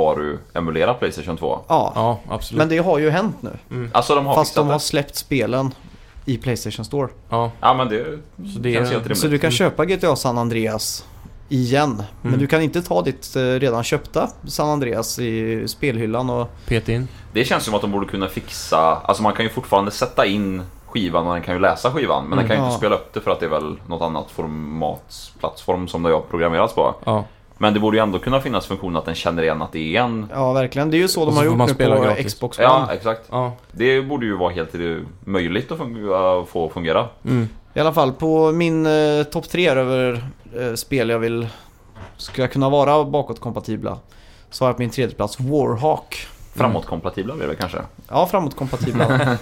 D: mjukvaru-emulera Playstation 2.
B: ja.
C: ja, absolut.
B: men det har ju hänt nu.
D: Alltså de har
B: Mm. Fast
D: fixat
B: de har
D: det.
B: släppt spelen i Playstation Store.
C: Ja.
D: Ja men det
C: Så det
D: känns
C: är...
D: helt rimligt.
B: Så du kan
C: Mm.
B: köpa GTA San Andreas igen. Men
C: Mm.
B: du kan inte ta ditt eh, redan köpta San Andreas i spelhyllan och...
C: Peta in.
D: Det känns som att de borde kunna fixa... Alltså man kan ju fortfarande sätta in skivan och den kan ju läsa skivan. Men den kan ju
B: Mm.
D: inte
B: Ja.
D: spela upp det för att det är väl något annat formatsplattform som det har programmerats på.
C: Ja.
D: Men det borde ju ändå kunna finnas funktion att den känner igen att det är en...
B: Ja, verkligen. Det är ju så
C: Och
B: de
C: så
B: har
C: får
B: gjort
C: man
B: nu på
C: spela gratis.
B: Xbox One.
D: Ja, exakt.
C: Ja.
D: Det borde ju vara helt eh, möjligt att funga, få fungera.
C: Mm.
B: I alla fall på min eh, topp tre över eh, spel jag vill ska kunna vara bakåtkompatibla så har jag på min tredje plats Warhawk.
D: Framåtkompatibla blir det kanske.
B: Ja,
C: <laughs>
B: framåtkompatibla.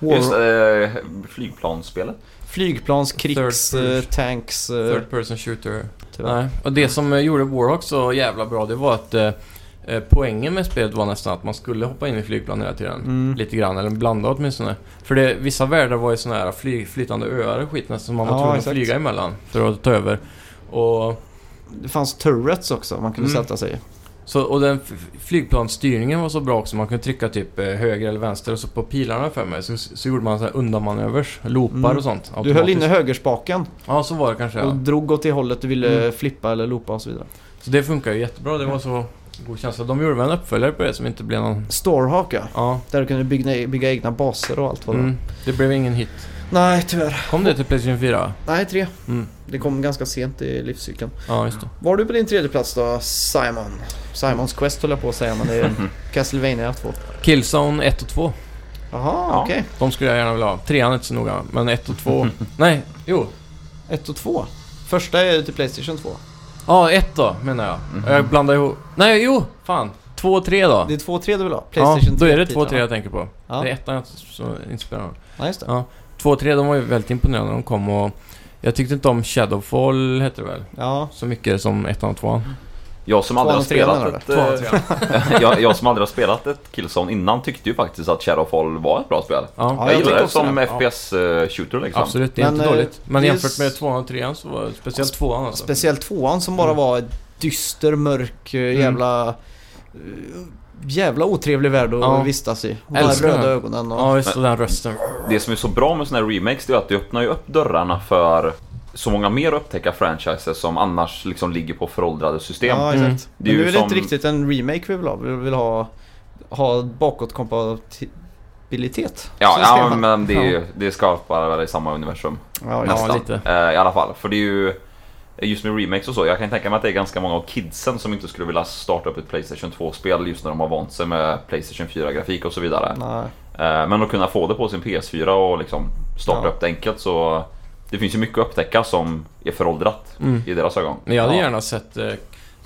D: Just
B: War,
D: eh, flygplansspelet.
B: flygplans, krigs,
C: Third person.
B: eh, tanks. Eh,
C: Third person shooter.
B: tyvärr.
C: Nej. Och det som eh, gjorde Warhawk så jävla bra, det var att eh, eh, poängen med spelet var nästan att man skulle hoppa in i flygplan hela tiden.
B: Mm.
C: Lite grann, eller blanda åtminstone. För det, vissa världar var ju såna här fly, flytande öar och skit nästan som man var
B: Ja,
C: tvungen
B: exakt.
C: att flyga emellan för att ta över. Och,
B: Det fanns turrets också man kunde
C: Mm.
B: sätta sig i.
C: så, och den f- flygplansstyrningen var så bra också. Man kunde trycka typ eh, höger eller vänster och så på pilarna för mig så, så gjorde man så här undanmanövers, loopar
B: Mm.
C: och sånt.
B: Du höll
C: automatiskt.
B: inne högerspaken
C: Ja, så var det kanske
B: och
C: ja.
B: drog åt det hållet du ville
C: Mm.
B: flippa eller loopa och så vidare.
C: Så det funkar ju jättebra. Det var så god känsla. De gjorde väl en uppföljare på det som inte blev någon...
B: Storhawk ja.
C: Ja,
B: Där du kunde bygga, bygga egna baser och allt vad det var.
C: Mm, det blev ingen hit.
B: Nej, tyvärr.
C: Kom det till Playstation 4?
B: Nej, tre.
C: Mm.
B: Det kom ganska sent i livscykeln.
C: Ja, just det.
B: Vad har du på din tredje plats då, Simon? Simons Quest håller jag på att säga, men det <laughs> är Castlevania 2.
C: Killzone 1 och 2.
B: Jaha,
D: Ja.
B: okej.
C: De skulle jag gärna vilja ha. Trean är inte så noga, men 1 och
D: <laughs>
C: 2. Nej, jo.
B: Ett och två. Första är till Playstation 2.
C: Ja, 1 då menar jag.
D: Mhm.
C: Jag blandar ihop. Nej, jo! Fan. 2 och 3 då.
B: Det är två och tre du vill ha?
C: Ja,
B: Playstation
C: då är det
B: 3
C: 2 och 3
B: titlarna.
C: jag tänker på.
B: Ja.
C: Det är ettan jag så inte spelar någon.
B: Ja, just det.
C: Ja. 2 och 3, de var ju väldigt imponerande när de kom och... Jag tyckte inte om Shadowfall, hette det väl?
B: Ja.
C: Så mycket som ettan och tvåan.
D: Jag som aldrig har
B: Tvåan och trean,
D: spelat ett, eh, <laughs> jag, jag som aldrig har spelat ett Killzone innan tyckte ju faktiskt att Shadowfall var ett bra spel.
B: Ja,
C: Ja,
D: jag
B: jag
D: gillar
B: tycker
D: det
B: också
D: som
B: det.
D: FPS-shooter liksom.
C: absolut. Det är
B: Men,
C: inte
B: eh,
C: dåligt. Men
B: det är
C: jämfört med
B: s-
C: tvåan och trean så var det speciellt tvåan alltså.
B: Speciellt tvåan som bara var dyster, mörk, eh, jävla... eh, Jävla otrevlig värld att
C: Ja.
B: vistas i. Och
C: Älskar
B: röda
C: den.
B: ögonen och...
C: Ja, just det. Den rösten.
D: Det som är så bra med sådana här remakes det är att det öppnar ju upp dörrarna för så många mer att upptäcka franchises som annars liksom ligger på föråldrade system.
B: Ja,
C: Mm.
B: exakt.
D: Det är
B: Men nu
D: ju
B: är det
D: som-
B: inte riktigt en remake vi vill ha. Vi vill ha, ha bakåtkompatibilitet.
D: Ja,
B: Så
D: ja
B: ska man-
D: men det, är ju, det skapar väl i samma universum.
B: ja, ja.
C: Ja,
D: Nästan.
C: lite.
D: Eh, I alla fall, för det är ju just med remakes och så. Jag kan tänka mig att det är ganska många av kidsen som inte skulle vilja starta upp ett Playstation 2-spel just när de har vant sig med Playstation 4-grafik och så vidare.
B: Nej.
D: Eh, Men att kunna få det på sin PS4 och liksom starta
B: Ja.
D: upp det enkelt så Det finns ju mycket att upptäcka som är föråldrat
C: Mm.
D: i deras ögon.
C: Men jag hade
D: Ja.
C: gärna sett eh,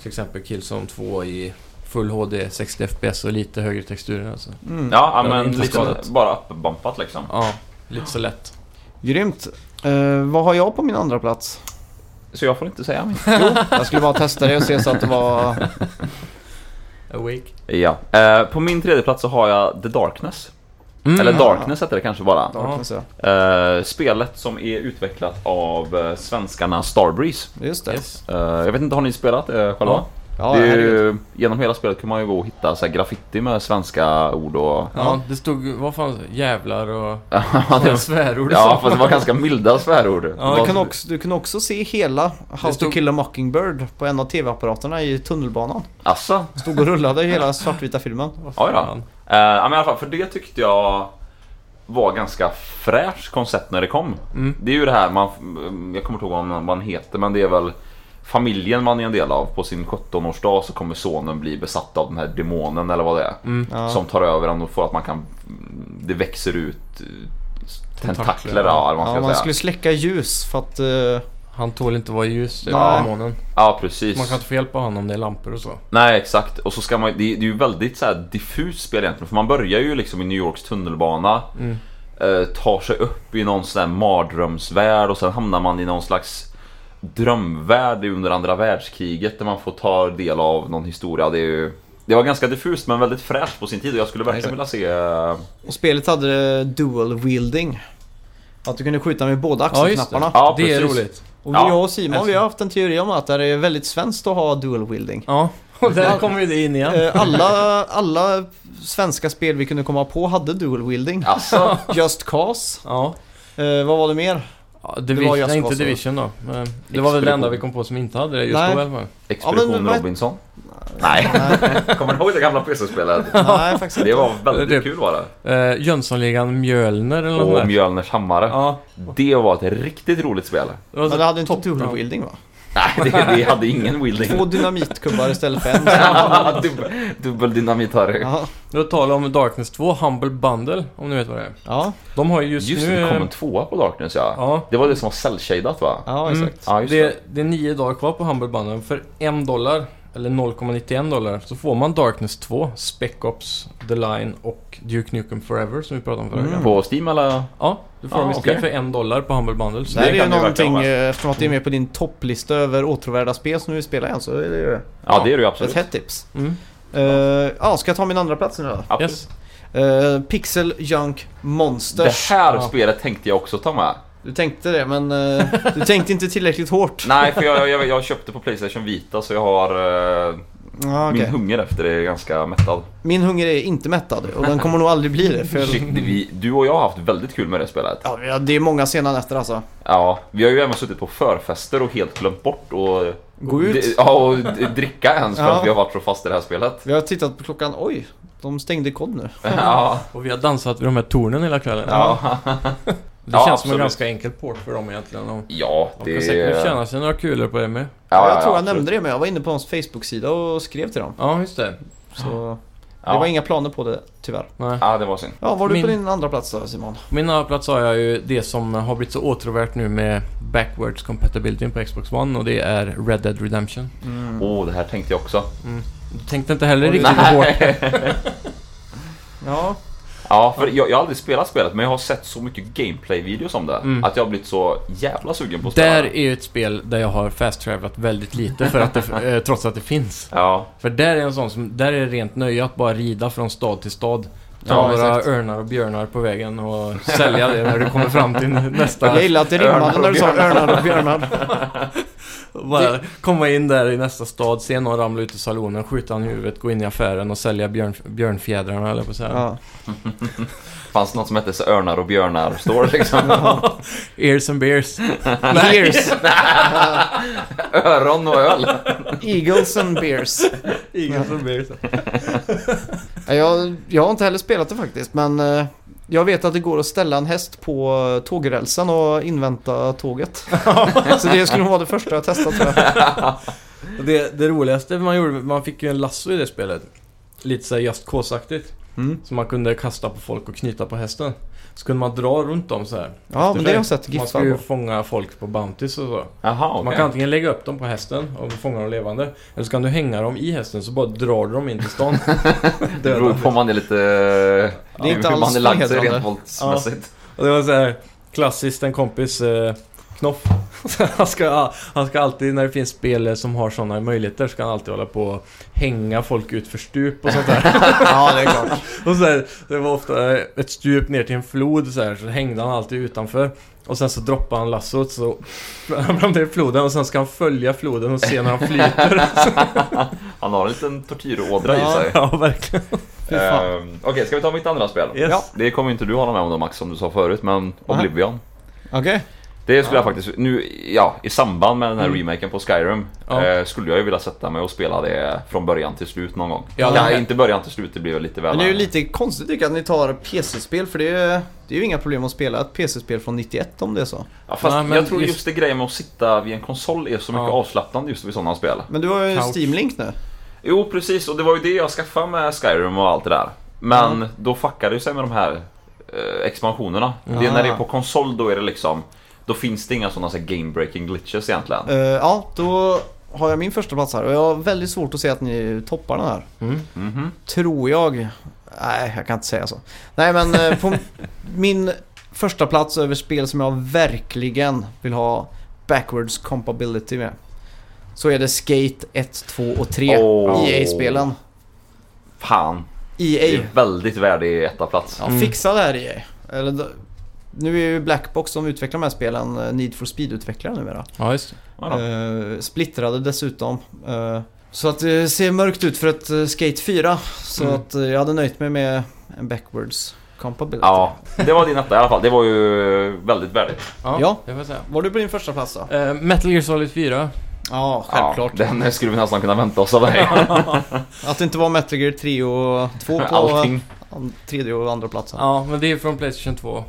C: till exempel Killzone 2 i Full HD, 60 FPS och lite högre texturer alltså.
B: Mm.
D: Ja, ja,
C: det är
D: men
C: inte
D: liksom
C: skadat.
D: bara uppbumpat liksom.
C: Ja, lite så lätt.
B: Grymt. Eh, vad har jag på min andra plats?
D: Så jag får inte säga min.
B: Jag skulle bara testa det och se så att det
C: <laughs>
B: var...
C: Awake.
D: ja. Eh, På min tredje plats så har jag The Darkness.
C: Mm.
D: Eller Darkness heter det kanske bara.
B: Darkness, ja.
D: Eh, Spelet som är utvecklat av eh, svenskarna Starbreeze.
B: Just det.
C: Yes.
D: Eh, Jag vet inte, har ni spelat eh, själva?
C: Ja.
B: Ja,
D: det är
B: herregud.
D: ju, genom hela spelet kan man ju gå och hitta så här graffiti med svenska ord och...
C: Ja, det stod, vad fan, jävlar och
D: <laughs> Ja,
C: <laughs>
D: det-
C: ja, svärord och
D: Ja,
C: så.
D: fast det var ganska milda svärord.
C: Ja,
B: Du
D: Vad-
B: kan, också, du kan också se hela How
C: Det stod-
B: to kill a mockingbird på en av tv-apparaterna i tunnelbanan.
D: Asså?
B: Stod och rullade i hela svartvita filmen.
C: Vad
D: Ja, ja.
C: fan.
D: Eh, ja, men i alla fall, för det tyckte jag var ganska fräscht koncept när det kom.
C: Mm.
D: Det är ju det här, man, mm, jag kommer inte ihåg vad man- man heter, men det är väl familjen man är en del av. På sin 17-årsdag så kommer sonen bli besatt av den här demonen eller vad det är.
B: Ja.
D: Som tar över en och får att man kan, det växer ut eh,
C: Tentakler,
D: tentakler.
C: ja.
D: Ja, eller vad man
B: ja,
D: ska
B: man
D: säga.
B: skulle släcka ljus för att... eh,
C: Han tål inte vara i ljus, det
B: Nej.
C: var månen.
D: ja, precis.
C: Man kan inte få hjälp av honom om det är lampor och så.
D: Nej exakt, och så ska man, det, är- det är ju väldigt så här diffust spel egentligen för man börjar ju liksom i New Yorks tunnelbana
C: Mm.
D: eh, Tar sig upp i någon sån här mardrömsvärld och sen hamnar man i någon slags drömvärld under andra världskriget där man får ta del av någon historia Det, är ju, det var ganska diffust men väldigt fräscht på sin tid och jag skulle verkligen vilja se eh,
B: Och spelet hade eh, dual wielding. Att du kunde skjuta med båda
C: Ja, just det.
B: axelknapparna.
D: Ja,
C: det är
D: precis.
C: roligt.
B: Och
D: Ja,
B: jag och Simon vi
C: älskar.
B: har haft en teori om att det är väldigt svenskt att ha dual wielding.
C: Ja, <laughs> och där kommer ju det in igen.
B: Eh, Alla, alla svenska spel vi kunde komma på hade dual wielding.
D: Alltså,
B: Just Cause.
C: Ja.
B: Eh, vad var det mer?
C: Ja,
B: Det var
C: Division,
B: just
C: nej,
B: vad
C: inte
B: så.
C: Division då. Men det var väl det
D: Expedition.
C: enda vi kom på som inte hade det just
B: Nej.
C: då i alla fall.
D: Expedition
B: men vad-
D: Robinson Nej,
B: Nej,
D: kommer du ihåg det gamla PC-spelet?
B: nej faktiskt inte.
D: Det var väldigt
C: Det- typ-
D: kul var det
C: Eh, Jönssonligan Mjölner eller något
D: Och
C: där.
D: Mjölners hammare
C: Ja,
D: Det var ett riktigt roligt spel
C: det var
B: Men
C: så
B: det hade inte
C: topp-
B: dual wielding va?
D: Nej, det, det hade ingen wielding.
B: Två dynamitkuddar istället för en.
D: <laughs> dubbel, dubbel dynamit Harry.
B: Ja,
C: Det var tal om Darkness 2, Humble Bundle, om ni vet vad det är.
B: ja,
C: De har ju just,
D: Just
C: nu...
D: det, det kom en tvåa på Darkness ja.
C: Ja.
D: Det var det som var cellshadat va?
B: ja
C: Mm.
B: exakt.
D: Ja, just det.
C: det, det är nio dagar kvar på Humble Bundle. För en dollar, eller 0,91 dollar, så får man Darkness 2, Spec Ops, The Line och Duke Nukem Forever som vi pratade om förra
B: Mm.
C: gång.
D: På Steam eller?
C: Ja, du får
D: Ah,
C: dem istället
D: okej.
C: för en dollar på Humble Bundle. Så
B: Det här är
D: kan
B: ju
D: ju verkligen
B: någonting,
D: vara.
B: eh, eftersom att det är med på din topplista över åtråvärda spel som du vill spela än så är det ju
D: Ja, det är det ju
B: ett
D: absolut.
B: hett tips.
C: Mm.
B: Eh, ja, ska jag ta min andra plats nu då?
D: absolut.
C: Yes.
B: Eh, Pixel Junk
D: Det
B: Monsters.
D: här
C: Ja.
D: spelet tänkte jag också ta med.
B: Du tänkte det, men eh, du tänkte inte tillräckligt hårt.
D: Nej, för jag, jag, jag köpte på Playstation Vita så jag har... eh,
B: Ja, okej.
D: Min hunger efter det är ganska mättad.
B: Min hunger är inte mättad och den kommer nog aldrig bli det. För...
D: Shit, vi, du och jag har haft väldigt kul med det spelet.
B: Ja, vi har- det är många sena nätter alltså.
D: Ja, vi har ju även suttit på förfester och helt glömt bort och...
B: Gå ut.
D: d- Ja, och d- dricka ens för
B: Ja.
D: att vi har varit så fast i det här spelet.
B: Vi har tittat på klockan, oj, de stängde kod nu.
D: <laughs> Ja,
C: Och vi har dansat vid de här tornen hela kvällen.
D: ja.
C: Det
D: Ja,
C: känns som en
D: absolut.
C: ganska enkel port för dem egentligen. Och
D: Ja,
C: de
D: det...
C: kan säkert tjäna sig några kulor på det med.
B: jag tror jag
D: absolut.
B: nämnde det men jag var inne på hans Facebook-sida och skrev till dem.
C: Ja, just det.
B: Så
D: Ja.
B: det var inga planer på det tyvärr.
C: Nej.
D: Ja, det var synd.
B: Ja, var du på
C: Min-
B: din andra plats då Simon?
C: På Min andra plats har jag ju det som har blivit så åtråvärt nu med backwards compatibility på Xbox One och det är Red Dead Redemption.
D: Åh, oh, det här tänkte jag också.
C: Du tänkte inte heller
B: Oj.
C: riktigt hårt.
B: Ja,
D: <laughs> Ja, för jag, jag har aldrig spelat spelet, men jag har sett så mycket gameplay-videos om det.
C: Mm.
D: Att jag har blivit så jävla sugen på att spela
C: Där
D: det.
C: är ju ett spel där jag har fast-travelat väldigt lite för att det,
B: <laughs>
C: eh, trots att det finns.
D: Ja,
C: För där är en sån som, där är det rent nöje att bara rida från stad till stad. Ta
B: Ja,
C: några
B: exakt.
C: örnar och björnar på vägen och sälja det när du kommer fram till nästa.
B: jag gillar att det
D: Örnar
B: rimmade
D: och
B: när du sa örnar och björnar.
C: Bara komma in där i nästa stad, se någon ramla ut ur salonen, skjuta han i huvudet, gå in i affären och sälja björn, björnfjädrarna eller på så här.
B: Ja.
D: fanns det något som hette så Örnar och Björnar Store liksom? <laughs>
C: Ears
B: <laughs>
C: and beers.
B: Beers,
D: Öron och öl.
B: Eagles and beers.
C: Eagles and <laughs> beers.
B: Ja, Jag, jag har inte heller spelat det faktiskt men eh, jag vet att det går att ställa en häst på eh, tågrälsen och invänta tåget. Så det skulle nog vara det första jag testat tror jag.
C: Och Det, det roligaste man gjorde, man fick ju en lasso i det spelet. Lite såhär just cause-aktigt.
B: Mm.
C: Som man kunde kasta på folk och knyta på hästen. Så kunde man dra runt dem så här.
B: Ja men det har jag sett
C: Man
B: giffar
C: skulle ju
B: på.
C: fånga folk på Bounties och så.
D: Jaha, okej.
C: Man kan antingen lägga upp dem på hästen och fånga dem levande. Eller så kan du hänga dem i hästen så bara drar du dem in till stan.
D: <laughs> Det beror på om man är lite... eh,
B: Det är inte
D: hur man
B: alls
D: är lagd sig
B: förnedrande.
D: rent våldsmässigt.
C: Och det var så här klassiskt en kompis eh, Knoff. <laughs> han, ska, han ska alltid när det finns spel som har sådana möjligheter ska han alltid hålla på och hänga folk ut för stup och sånt
D: <laughs>
C: där.
B: <laughs> Ja det är klart.
C: och så här, det var ofta eh, ett stup ner till en flod så här så hängde han alltid utanför. Och sen så droppade han lassot så <laughs> han ramlade i floden och sen ska han följa floden och se när han flyter.
D: <laughs> Han har en liten tortyrådra i sig.
C: ja, verkligen.
B: Fy fan.
D: Ehm, Okej, ska vi ta mitt andra spel?
C: Yes.
B: Ja.
D: Det kommer ju inte du hålla med om då Max, som du sa förut, men
B: Aha.
D: Oblivion.
B: Okej.
D: Det skulle jag faktiskt, nu, ja, i samband med den här
C: Mm.
D: remaken på Skyrim
C: Ja.
D: eh, Skulle jag ju vilja sätta mig och spela det från början till slut någon gång
C: Ja,
D: ja,
C: men-
D: Inte början till slut, det blir väl lite väl
B: Men det är ju lite konstigt tycker jag att ni tar PC-spel för det är, det är ju inga problem att spela ett PC-spel från 91 om det är så.
D: ja, Fast
C: Nej, men
D: jag tror
C: just-
D: just... det grejen med att sitta vid en konsol är så mycket
C: Ja.
D: avslappnande just vid sådana spel
B: Men du har ju
C: Couch.
B: Steam Link nu.
D: Jo precis, och det var ju det jag skaffade med Skyrim och allt det där Men
B: Mm.
D: då fuckade det ju sig med de här eh, expansionerna det, är När
B: Ah.
D: det är på konsol då är det liksom Då finns det inga sådana så här game-breaking glitches egentligen
B: Eh, ja, då har jag min första plats här och jag har väldigt svårt att se att ni toppar den här.
C: Mm.
D: Mhm.
B: Tror jag. Nej, jag kan inte säga så. Nej, men eh, på min första plats över spel som jag verkligen vill ha backwards compatibility med. Så är det Skate 1, 2 och E 3.
D: Åh.
B: EA-spelen.
D: Fan, det
B: EA.
D: är väldigt värdig etaplats
B: E Ja,
C: Mm.
B: fixa det här EA. Eller, d- nu är ju Blackbox som utvecklar de här spelen eh, Need for Speed-utvecklare numera.
C: Ja, just det.
D: Ja, då.
B: Eh, splittrade dessutom. Eh, så att det ser mörkt ut för ett eh, Skate 4. Så
C: Mm.
B: att eh, jag hade nöjt mig med en backwards compatibility.
D: Ja, det var din etta i alla fall. Det var ju väldigt värdigt.
B: Ja.
C: det får jag säga.
B: Var du på din första plats då?
C: Eh, Metal Gear
B: <laughs>
C: Solid 4.
B: Ja, självklart.
D: Ja, den skulle vi nästan kunna vänta oss av dig.
B: Att det inte var Metal Gear 3 och 2 på
D: Allting.
B: an- tredje och andra platsen.
C: Ja, men det är från Playstation 2.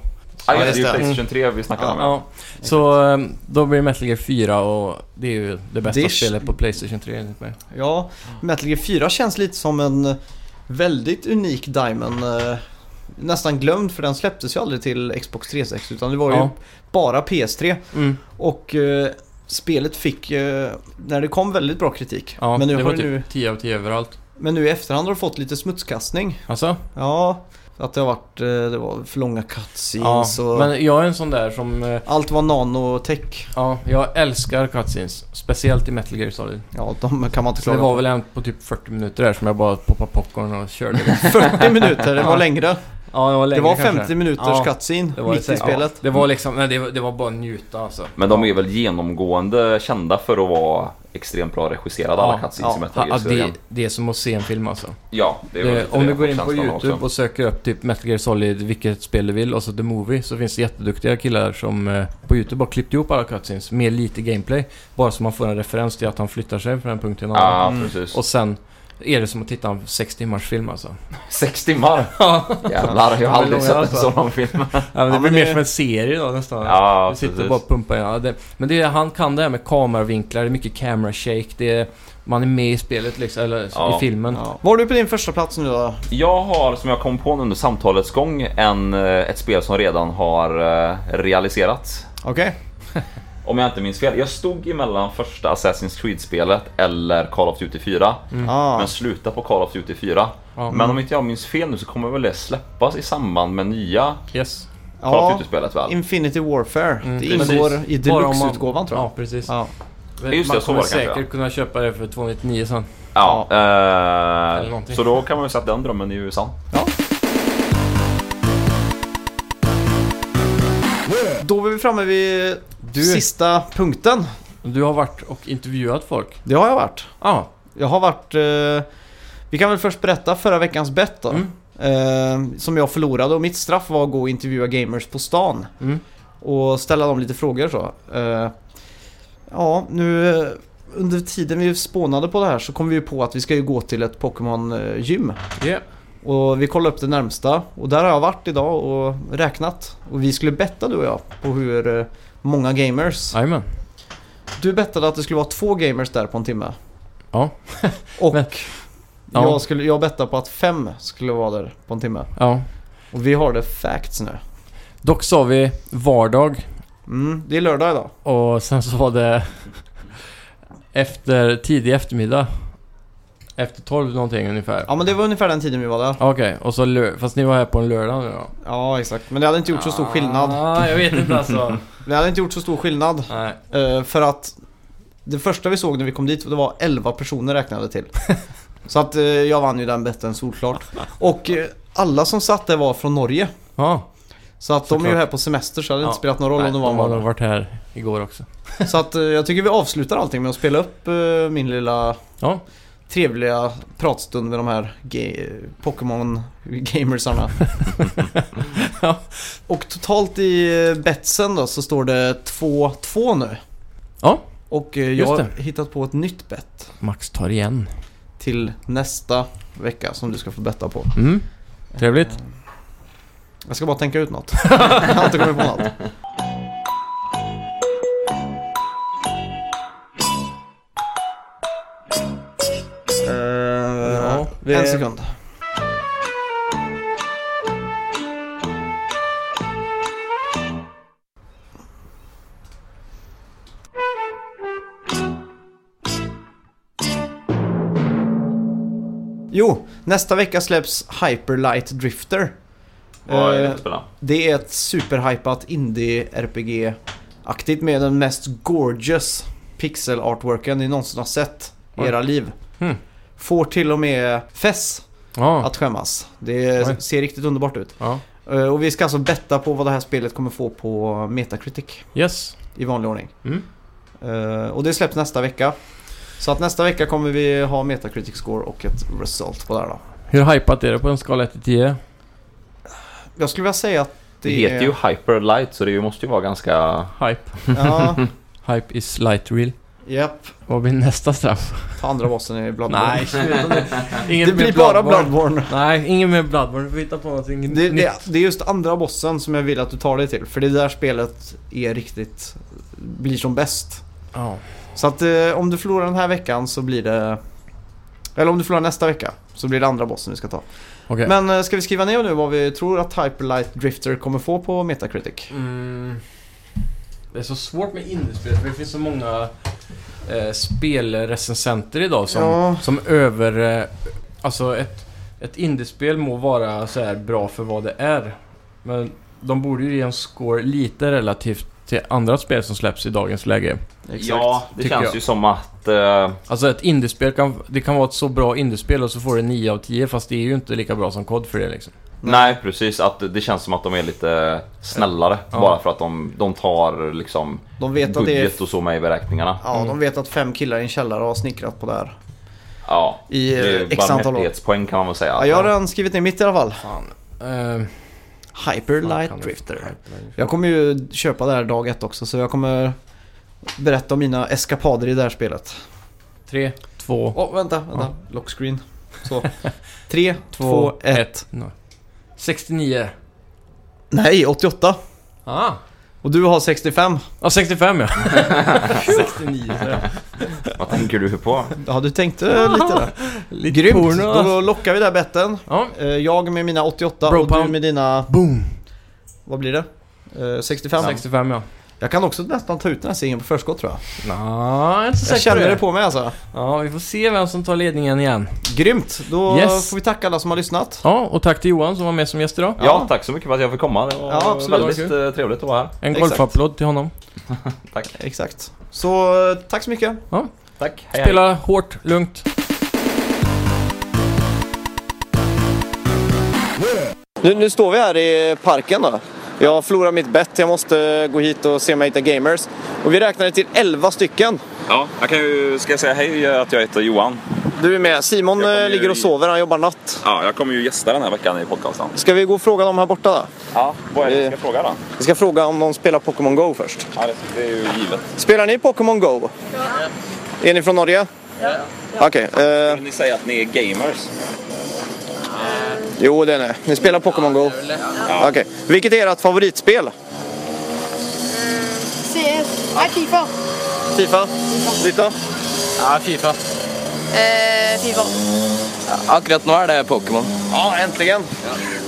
D: Ja, just
B: just
D: det. är ju
B: det. Mm.
D: Playstation 3 vi snackade om.
C: Ja, så eh, då blir det Metal Gear 4 och det är ju det bästa
B: Dish.
C: spelet på Playstation 3 enligt mig.
B: Ja, Metal Gear 4 känns lite som en eh, väldigt unik Diamond. eh, Nästan glömd för den släpptes ju aldrig till Xbox 360 utan det var ju
C: Ja.
B: bara PS3.
C: Mm.
B: Och eh, spelet fick, eh, när det kom, väldigt bra kritik.
C: Ja,
B: men, nu
C: det
B: har
C: var
B: det
C: typ
B: nu,
C: 10 av 10 överallt.
B: men nu i efterhand har det fått lite smutskastning.
C: Alltså?
B: Ja, att det har varit eh, det var för långa
C: Ja,
B: cutscenes och
C: men jag är en sån där som... eh,
B: allt var nanotech.
C: Ja, jag älskar cutscenes. Speciellt i Metal Gear Solid.
B: Ja, de kan man inte
C: Så det
B: klaga
C: var
B: på.
C: väl en på typ 40 minuter där som jag bara poppade popcorn
B: <laughs>
C: och körde.
B: 40 minuter, det var längre.
C: Ja, det var
B: det var 50 minuters
C: Ja,
B: cutscene mitt i
C: ja,
B: spelet.
C: det var liksom, nej, det, var, det var bara njuta alltså.
D: Men de är väl genomgående kända för att vara extremt bra regisserade alla
C: Ja,
D: cutscenes i
B: ja.
D: Metal
C: Ja, ah, det,
D: Gear-serien.
C: det är som att se en film alltså.
D: Ja, det är väl
C: Det,
D: lite
C: om
D: det
C: du går
D: jag
C: in
D: får
C: på
D: känslan av
C: YouTube
D: också.
C: och söker upp typ Metal Gear Solid, vilket spel du vill, och så The Movie, så finns det jätteduktiga killar som eh, på YouTube bara klippt ihop alla cutscenes med lite gameplay. Bara så man får en referens till att han flyttar sig från en punkt till en annan.
D: Ja,
B: Mm.
D: precis.
C: Och sen är det som att titta en sex timmars film alltså.
D: Sex timmar!
C: ja,
D: Jävlar, jag har aldrig
C: Ja,
D: sett en
C: alltså.
D: sådan film.
C: men det
B: men det-
C: blir mer som en serie då nästan.
D: Ja,
C: Du sitter och bara
D: precis.
C: och pumpar in. Ja, det, men det, är- han kan det här med kameravinklar, det är mycket camera shake, det är, man är med i spelet liksom, eller
D: Ja.
C: i filmen.
B: Ja. Var du på din första plats nu då?
D: Jag har, som jag kom på under samtalets gång, en, eh, ett spel som redan har eh, realiserats.
B: Okej.
D: Om jag inte minns fel. Jag stod emellan första Assassin's Creed-spelet eller Call of Duty 4.
B: Ah.
D: Men sluta på Call of Duty 4.
C: Mm. Ja.
D: Men om inte jag minns fel nu så kommer väl det släppas i samband med nya
C: Yes.
D: Call of
B: Ja,
D: Duty-spelet väl?
B: Infinity Warfare.
C: Mm,
B: det
D: precis.
B: ingår i
C: Bara om man-
B: deluxe-utgåvan tror jag.
C: Ja, precis.
B: Ja.
D: det, så var
C: man
D: det
C: kommer
D: kanske,
C: säkert
D: ja.
C: kunna köpa det för 299 sen.
D: Ja,
C: Eller
D: eh,
C: någonting.
D: så då kan man ju säga att den drömmen är ju sann.
B: Då är vi framme vid
C: Du-
B: sista punkten.
C: Du har varit och intervjuat folk.
B: Det har jag varit.
C: Ja,
B: Jag har varit... Eh, vi kan väl först berätta förra veckans bett då.
C: Mm.
B: Eh, som jag förlorade och mitt straff var att gå och intervjua gamers på stan.
C: Mm.
B: Och ställa dem lite frågor så. Eh, ja, nu... eh, Under tiden vi spånade på det här så kom vi ju på att vi ska ju gå till ett Pokémon-gym.
C: yeah.
B: Och vi kollade upp det närmsta och där har jag varit idag och räknat. Och vi skulle betta du och jag på hur eh, många gamers.
C: Jajamän.
B: Du bettade att det skulle vara två gamers där på en timme.
C: Ja.
B: <laughs> och
C: Men- Ja.
B: jag, skulle, jag bettade på att fem skulle vara där på en timme.
C: Ja.
B: Och vi har det facts nu.
C: Dock sa vi vardag
B: Mm, det är lördag idag.
C: och sen så var det efter tidig eftermiddag. Efter 12 någonting ungefär.
B: Ja men det var ungefär den tiden vi var där.
C: Okej, och så lö- fast ni var här på en lördag nu då?
B: Ja exakt. Men det hade inte gjort så stor skillnad.
C: Ja, Ah, jag vet inte
B: <laughs>
C: alltså.
B: Det hade inte gjort så stor skillnad.
C: Nej.
B: Eh, för att det första vi såg när vi kom dit det var 11 personer räknade
C: <laughs>
B: till. Så att eh, jag vann ju den betten solklart. Och eh, alla som satt där var från Norge.
C: Ja,
B: Så att de är ju
C: Såklart.
B: här på semester så det hade
C: Ja.
B: inte spelat någon roll
C: nej,
B: om de var
C: de har nog
B: var.
C: varit här igår också.
B: Så att eh, jag tycker vi avslutar allting med att spela upp eh, min lilla
C: Ja,
B: trevliga pratstund med de här ge- Pokémon-gamersarna.
C: <laughs> Ja.
B: Och totalt i eh, betsen då så står det 2-2 nu.
C: Ja.
B: Och eh, jag
C: Just
B: har
C: det.
B: hittat på ett nytt bett.
C: Max tar igen.
B: till nästa vecka som du ska få betta på.
C: Mm. Trevligt.
D: Eh.
B: Jag ska bara tänka ut något. <laughs> jag har inte kommit på något.
C: ja,
B: Eh, En sekund. Jo, nästa vecka släpps Hyperlight Drifter.
D: Vad är det
B: Eh,
D: för spela?
B: det är ett superhypat indie-RPG-aktigt med den mest gorgeous pixel-artworken ni någonsin har sett i
C: Oj.
B: era liv.
D: Hm.
C: Hmm.
B: Får till och med Fess
C: Ja.
B: att skämmas. Det
C: Oj.
B: ser riktigt underbart ut.
C: ja.
B: Eh, Och vi ska alltså betta på vad det här spelet kommer få på Metacritic
C: Yes.
B: i vanlig ordning.
C: Mm.
B: Eh, Och det släpps nästa vecka. Så att nästa vecka kommer vi ha Metacritic score och ett result på det här då.
C: Hur hypat är det på en skala 1 till 10?
B: Jag skulle vilja säga att det,
D: Det heter
B: är...
D: ju Hyperlight så det måste ju vara ganska...
C: Hype.
B: Ja,
C: Hype is light real.
B: japp.
C: Vad blir nästa straff?
B: Ta andra bossen i Bloodborne. <laughs>
C: Inget
B: Det
C: mer
B: blir bara Bloodborne.
C: Nej, ingen mer Bloodborne. Vi får hitta på någonting
B: Det,
C: nytt.
B: det, det är just andra bossen som jag vill att du tar dig till. För det är där spelet är riktigt... Blir som bäst.
C: Ja.
B: Så att eh, om du förlorar den här veckan så blir det... Eller om du förlorar nästa vecka så blir det andra bossen vi ska ta.
C: Okej.
B: Men eh, ska vi skriva ner nu vad vi tror att Hyperlight Drifter kommer få på Metacritic?
C: Mm. Det är så svårt med indiespel för det finns så många eh, spelrecensenter idag som,
B: Ja.
C: som över... Eh, alltså ett, ett indiespel må vara så här bra för vad det är. Men de borde ju ge en score lite relativt till andra spel som släpps i dagens läge.
D: Ja, det
C: tycker
D: känns
C: jag.
D: ju som att... eh,
C: Alltså ett indiespel kan, det kan vara ett så bra indiespel och så får det 9 av 10 fast det är ju inte lika bra som kod för det liksom.
D: Nej precis, att det känns som att de är lite snällare
C: Ja.
D: bara för att de, de tar liksom
B: De vet att det är...
D: budget och så med i beräkningarna.
B: Ja, de vet att fem killar i en källare har snickrat på det här.
D: Ja,
B: I
D: det
B: eh,
D: är
B: x antal år.
D: barmhärtighetspoäng kan man väl säga.
B: Ja, jag har redan skrivit ner mitt i alla fall.
C: Fan. Eh, vad kan
B: Hyperlight
C: det-
B: Drifter. Jag kommer ju köpa det här dag ett också så jag kommer berätta om mina eskapader i det här spelet.
C: Tre, två.
B: Åh, vänta, vänta.
C: Ja.
B: Lockscreen. Så. 3, 2, 1.
C: No. 69.
B: Nej, 88.
C: Ah.
B: Och du har 65.
C: Ja, <laughs> 65 ja. 69 så ja.
D: Vad tänker du på?
B: Ja, du tänkte lite där.
C: Lite
B: Grymt!
C: porno.
B: Då lockar vi där betten.
C: Ja.
B: Eh, Jag med mina 88
C: Bro
B: och du
C: pound.
B: med dina...
C: Boom!
B: Vad blir det? Eh, 65?
C: 65 ja.
B: Jag kan också nästan ta ut den här singeln på förskott tror jag.
C: Nå, jag är inte så
B: Jag
C: säker på
B: känner
C: det.
B: det på mig alltså.
C: Ja, vi får se vem som tar ledningen igen.
B: Grymt! Då
C: Yes.
B: får vi tacka alla som har lyssnat.
C: Ja, och tack till Johan som var med som gäst idag.
D: Ja, tack så mycket för att jag fick komma. Det var
B: Ja, absolut.
D: väldigt eh, trevligt att vara här.
C: En
B: Exakt.
C: golfapplåd till honom.
D: Tack.
B: Exakt. Så eh, tack så mycket.
D: Tack. Hej, hej.
C: Spela hårt, lugnt.
B: Nu, nu står vi här i parken då. Jag förlorar mitt bett, jag måste gå hit och se om jag hittar gamers. Och vi räknade till 11 stycken.
D: Ja, jag kan ju, ska jag säga hej eh, att jag heter Johan?
B: Du är med. Simon
D: Jag kommer
B: eh, ligger och
D: i-
B: sover, han jobbar natt.
D: Ja, jag kommer ju gästa den här veckan i podcasten.
B: Ska vi gå och fråga dem här borta då?
D: Ja, vad är det vi ska
B: Eh.
D: fråga då?
B: Vi ska fråga om de spelar Pokémon Go först.
D: Ja, det, det är ju givet.
B: Spelar ni Pokémon Go? Ja. Är ni från Norge? Ja. Okej. eh,
D: Ni säger att ni är gamers.
B: jo, det är ni. Ni spelar Pokémon Go? Ja. Okej. Vilket är ert favoritspel?
E: CS. Nej, Fifa.
B: Fifa? Ditt då?
F: Ja, Fifa.
E: Eh, Fifa.
F: Akkurat nå er det Pokémon.
B: Ja, äntligen!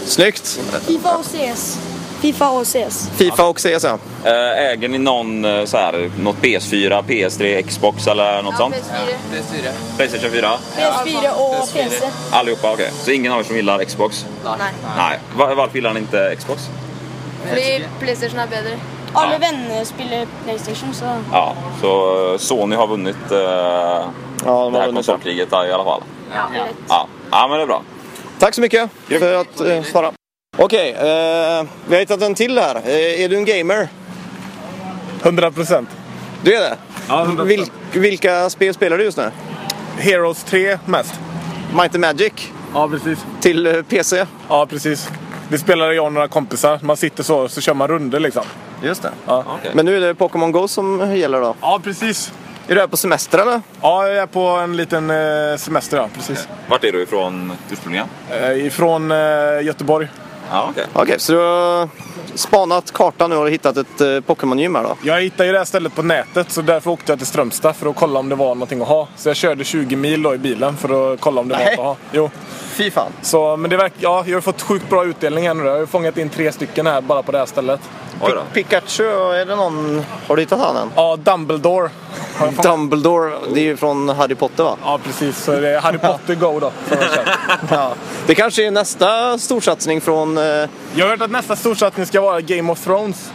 B: Snyggt!
E: Fifa och CS. Fifa och CS.
B: Fifa och E. CS ja.
D: Eh, Äger ni någon eh, så här, något PS4, PS3, Xbox eller något sånt?
E: PS4.
F: Det styrer jeg.
D: Playstation 4?
E: PS4 och
F: PS4.
E: PC.
D: Allihopa, okej. Så ingen av er som gillar Xbox?
E: Nej.
D: Nej. Va- Varför gillar ni inte Xbox?
G: Fordi PlayStation er bedre.
E: Alla vänner spelar Playstation så...
D: Ja, så eh, Sony har vunnit eh,
B: ja de
D: det
B: har
D: här
B: vunnit. ja.
D: konsolkriget där, i alla fall.
G: Ja.
D: Ja. ja, men det är bra.
B: Tack så mycket för att eh, svara. Okej, eh, vi har hittat en till här. Eh, är du en gamer?
H: 100 procent.
B: Du är det?
H: Ja, 100%.
B: Vil- vilka spel spelar du just nu?
H: Heroes 3 mest.
B: Mighty Magic
H: Ja, precis.
B: till eh, PC?
H: Ja, precis. Det spelade jag och några kompisar. Man sitter så, så kör man runder liksom.
B: Just det.
H: Ja,
B: Men nu är det Pokémon Go som gäller då.
H: ja precis.
B: Är du här på semester eller?
H: Ja, jag är på en liten eh, semester, ja. Precis.
D: Vart är du ifrån ursprungligen?
H: Eh, ifrån eh, Göteborg.
D: Ja, okej.
B: Okej, så du har spanat kartan nu och hittat ett eh, Pokémon-gym här då?
H: Jag hittade ju det här stället på nätet, så därför åkte jag till Strömstad för att kolla om det var någonting att ha. Så jag körde 20 mil då i bilen för att kolla om det var
B: Nej.
H: något att ha. Jo.
B: Fy fan.
H: Så, men det verkar... Ja, jag har fått sjukt bra utdelning här nu. då. Jag har ju fångat in tre stycken här bara på det här stället.
D: Oj då.
B: Pikachu, är det någon... Har du hittat han än?
H: Ja, Dumbledore. har jag fångat.
B: Dumbledore, det är ju från Harry Potter va?
H: Ja, precis. Så det är Harry Potter Go då. som jag kör.
B: Ja. Det kanske är nästa storsatsning från... Eh,
H: Jag har hört att nästa storsatsning ska vara Game of Thrones.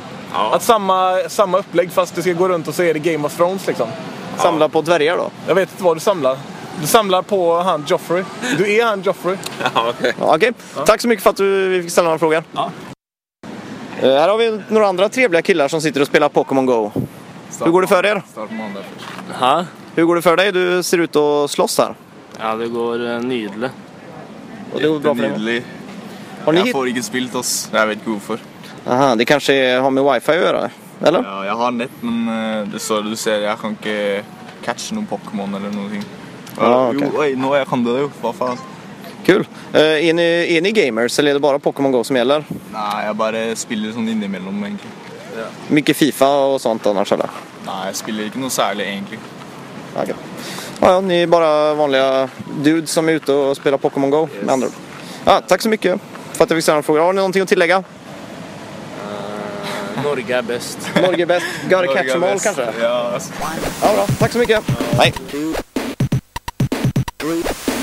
H: Att samma, samma upplägg fast du ska gå runt och så är det Game of Thrones liksom.
B: samla på dvärgar då?
H: Jag vet inte vad du samlar. Du samlar på han Joffrey. Du är han Joffrey.
D: Ja, okej.
B: Ja, Okej, tack så mycket för att du, vi fick ställa några frågor. Eh, här har vi några andra trevliga killar som sitter och spelar Pokémon Go. Hur går det för er?
I: Hæ?
B: Hur går det för dig? Du ser ut att slåss här.
I: Ja, det går eh, nydelig.
B: Och det går bra för dig.
J: Nydelig.
B: Har ni
J: Jeg
B: hit?
J: får ikke spilt, ass. Jeg vet ikke hvorfor.
B: Aha, det kanske är, har med wifi att göra? Eller?
J: Ja, jeg har nett, men eh, det står det du ser. Jeg kan ikke catche noen Pokémon eller noen ting.
B: Ah, ok.
J: Jo, oi, nå jeg kan det jo. Hva faen?
B: Kul. Eh, är, ni, är ni gamers eller är det bara Pokémon Go som gäller?
J: Nei, jeg bare spiller sånn innimellom, egentlig.
B: Mycket Fifa och sånt annars eller?
J: Nei, jeg spiller ikke noe særlig, egentlig.
B: Ja, okej. Ja, ja, ni är bara vanliga dudes som är ute och spelar Pokémon Go med andra ord. Ja, tack så mycket för att jag fick ställa några frågor. Har ni någonting att tillägga?
I: Norge er best.
B: Eh, Norge är bäst. Gotta catch em all kanske?
J: Ja, ass.
B: Ja, bra. Tack så mycket. Hej.
A: Three.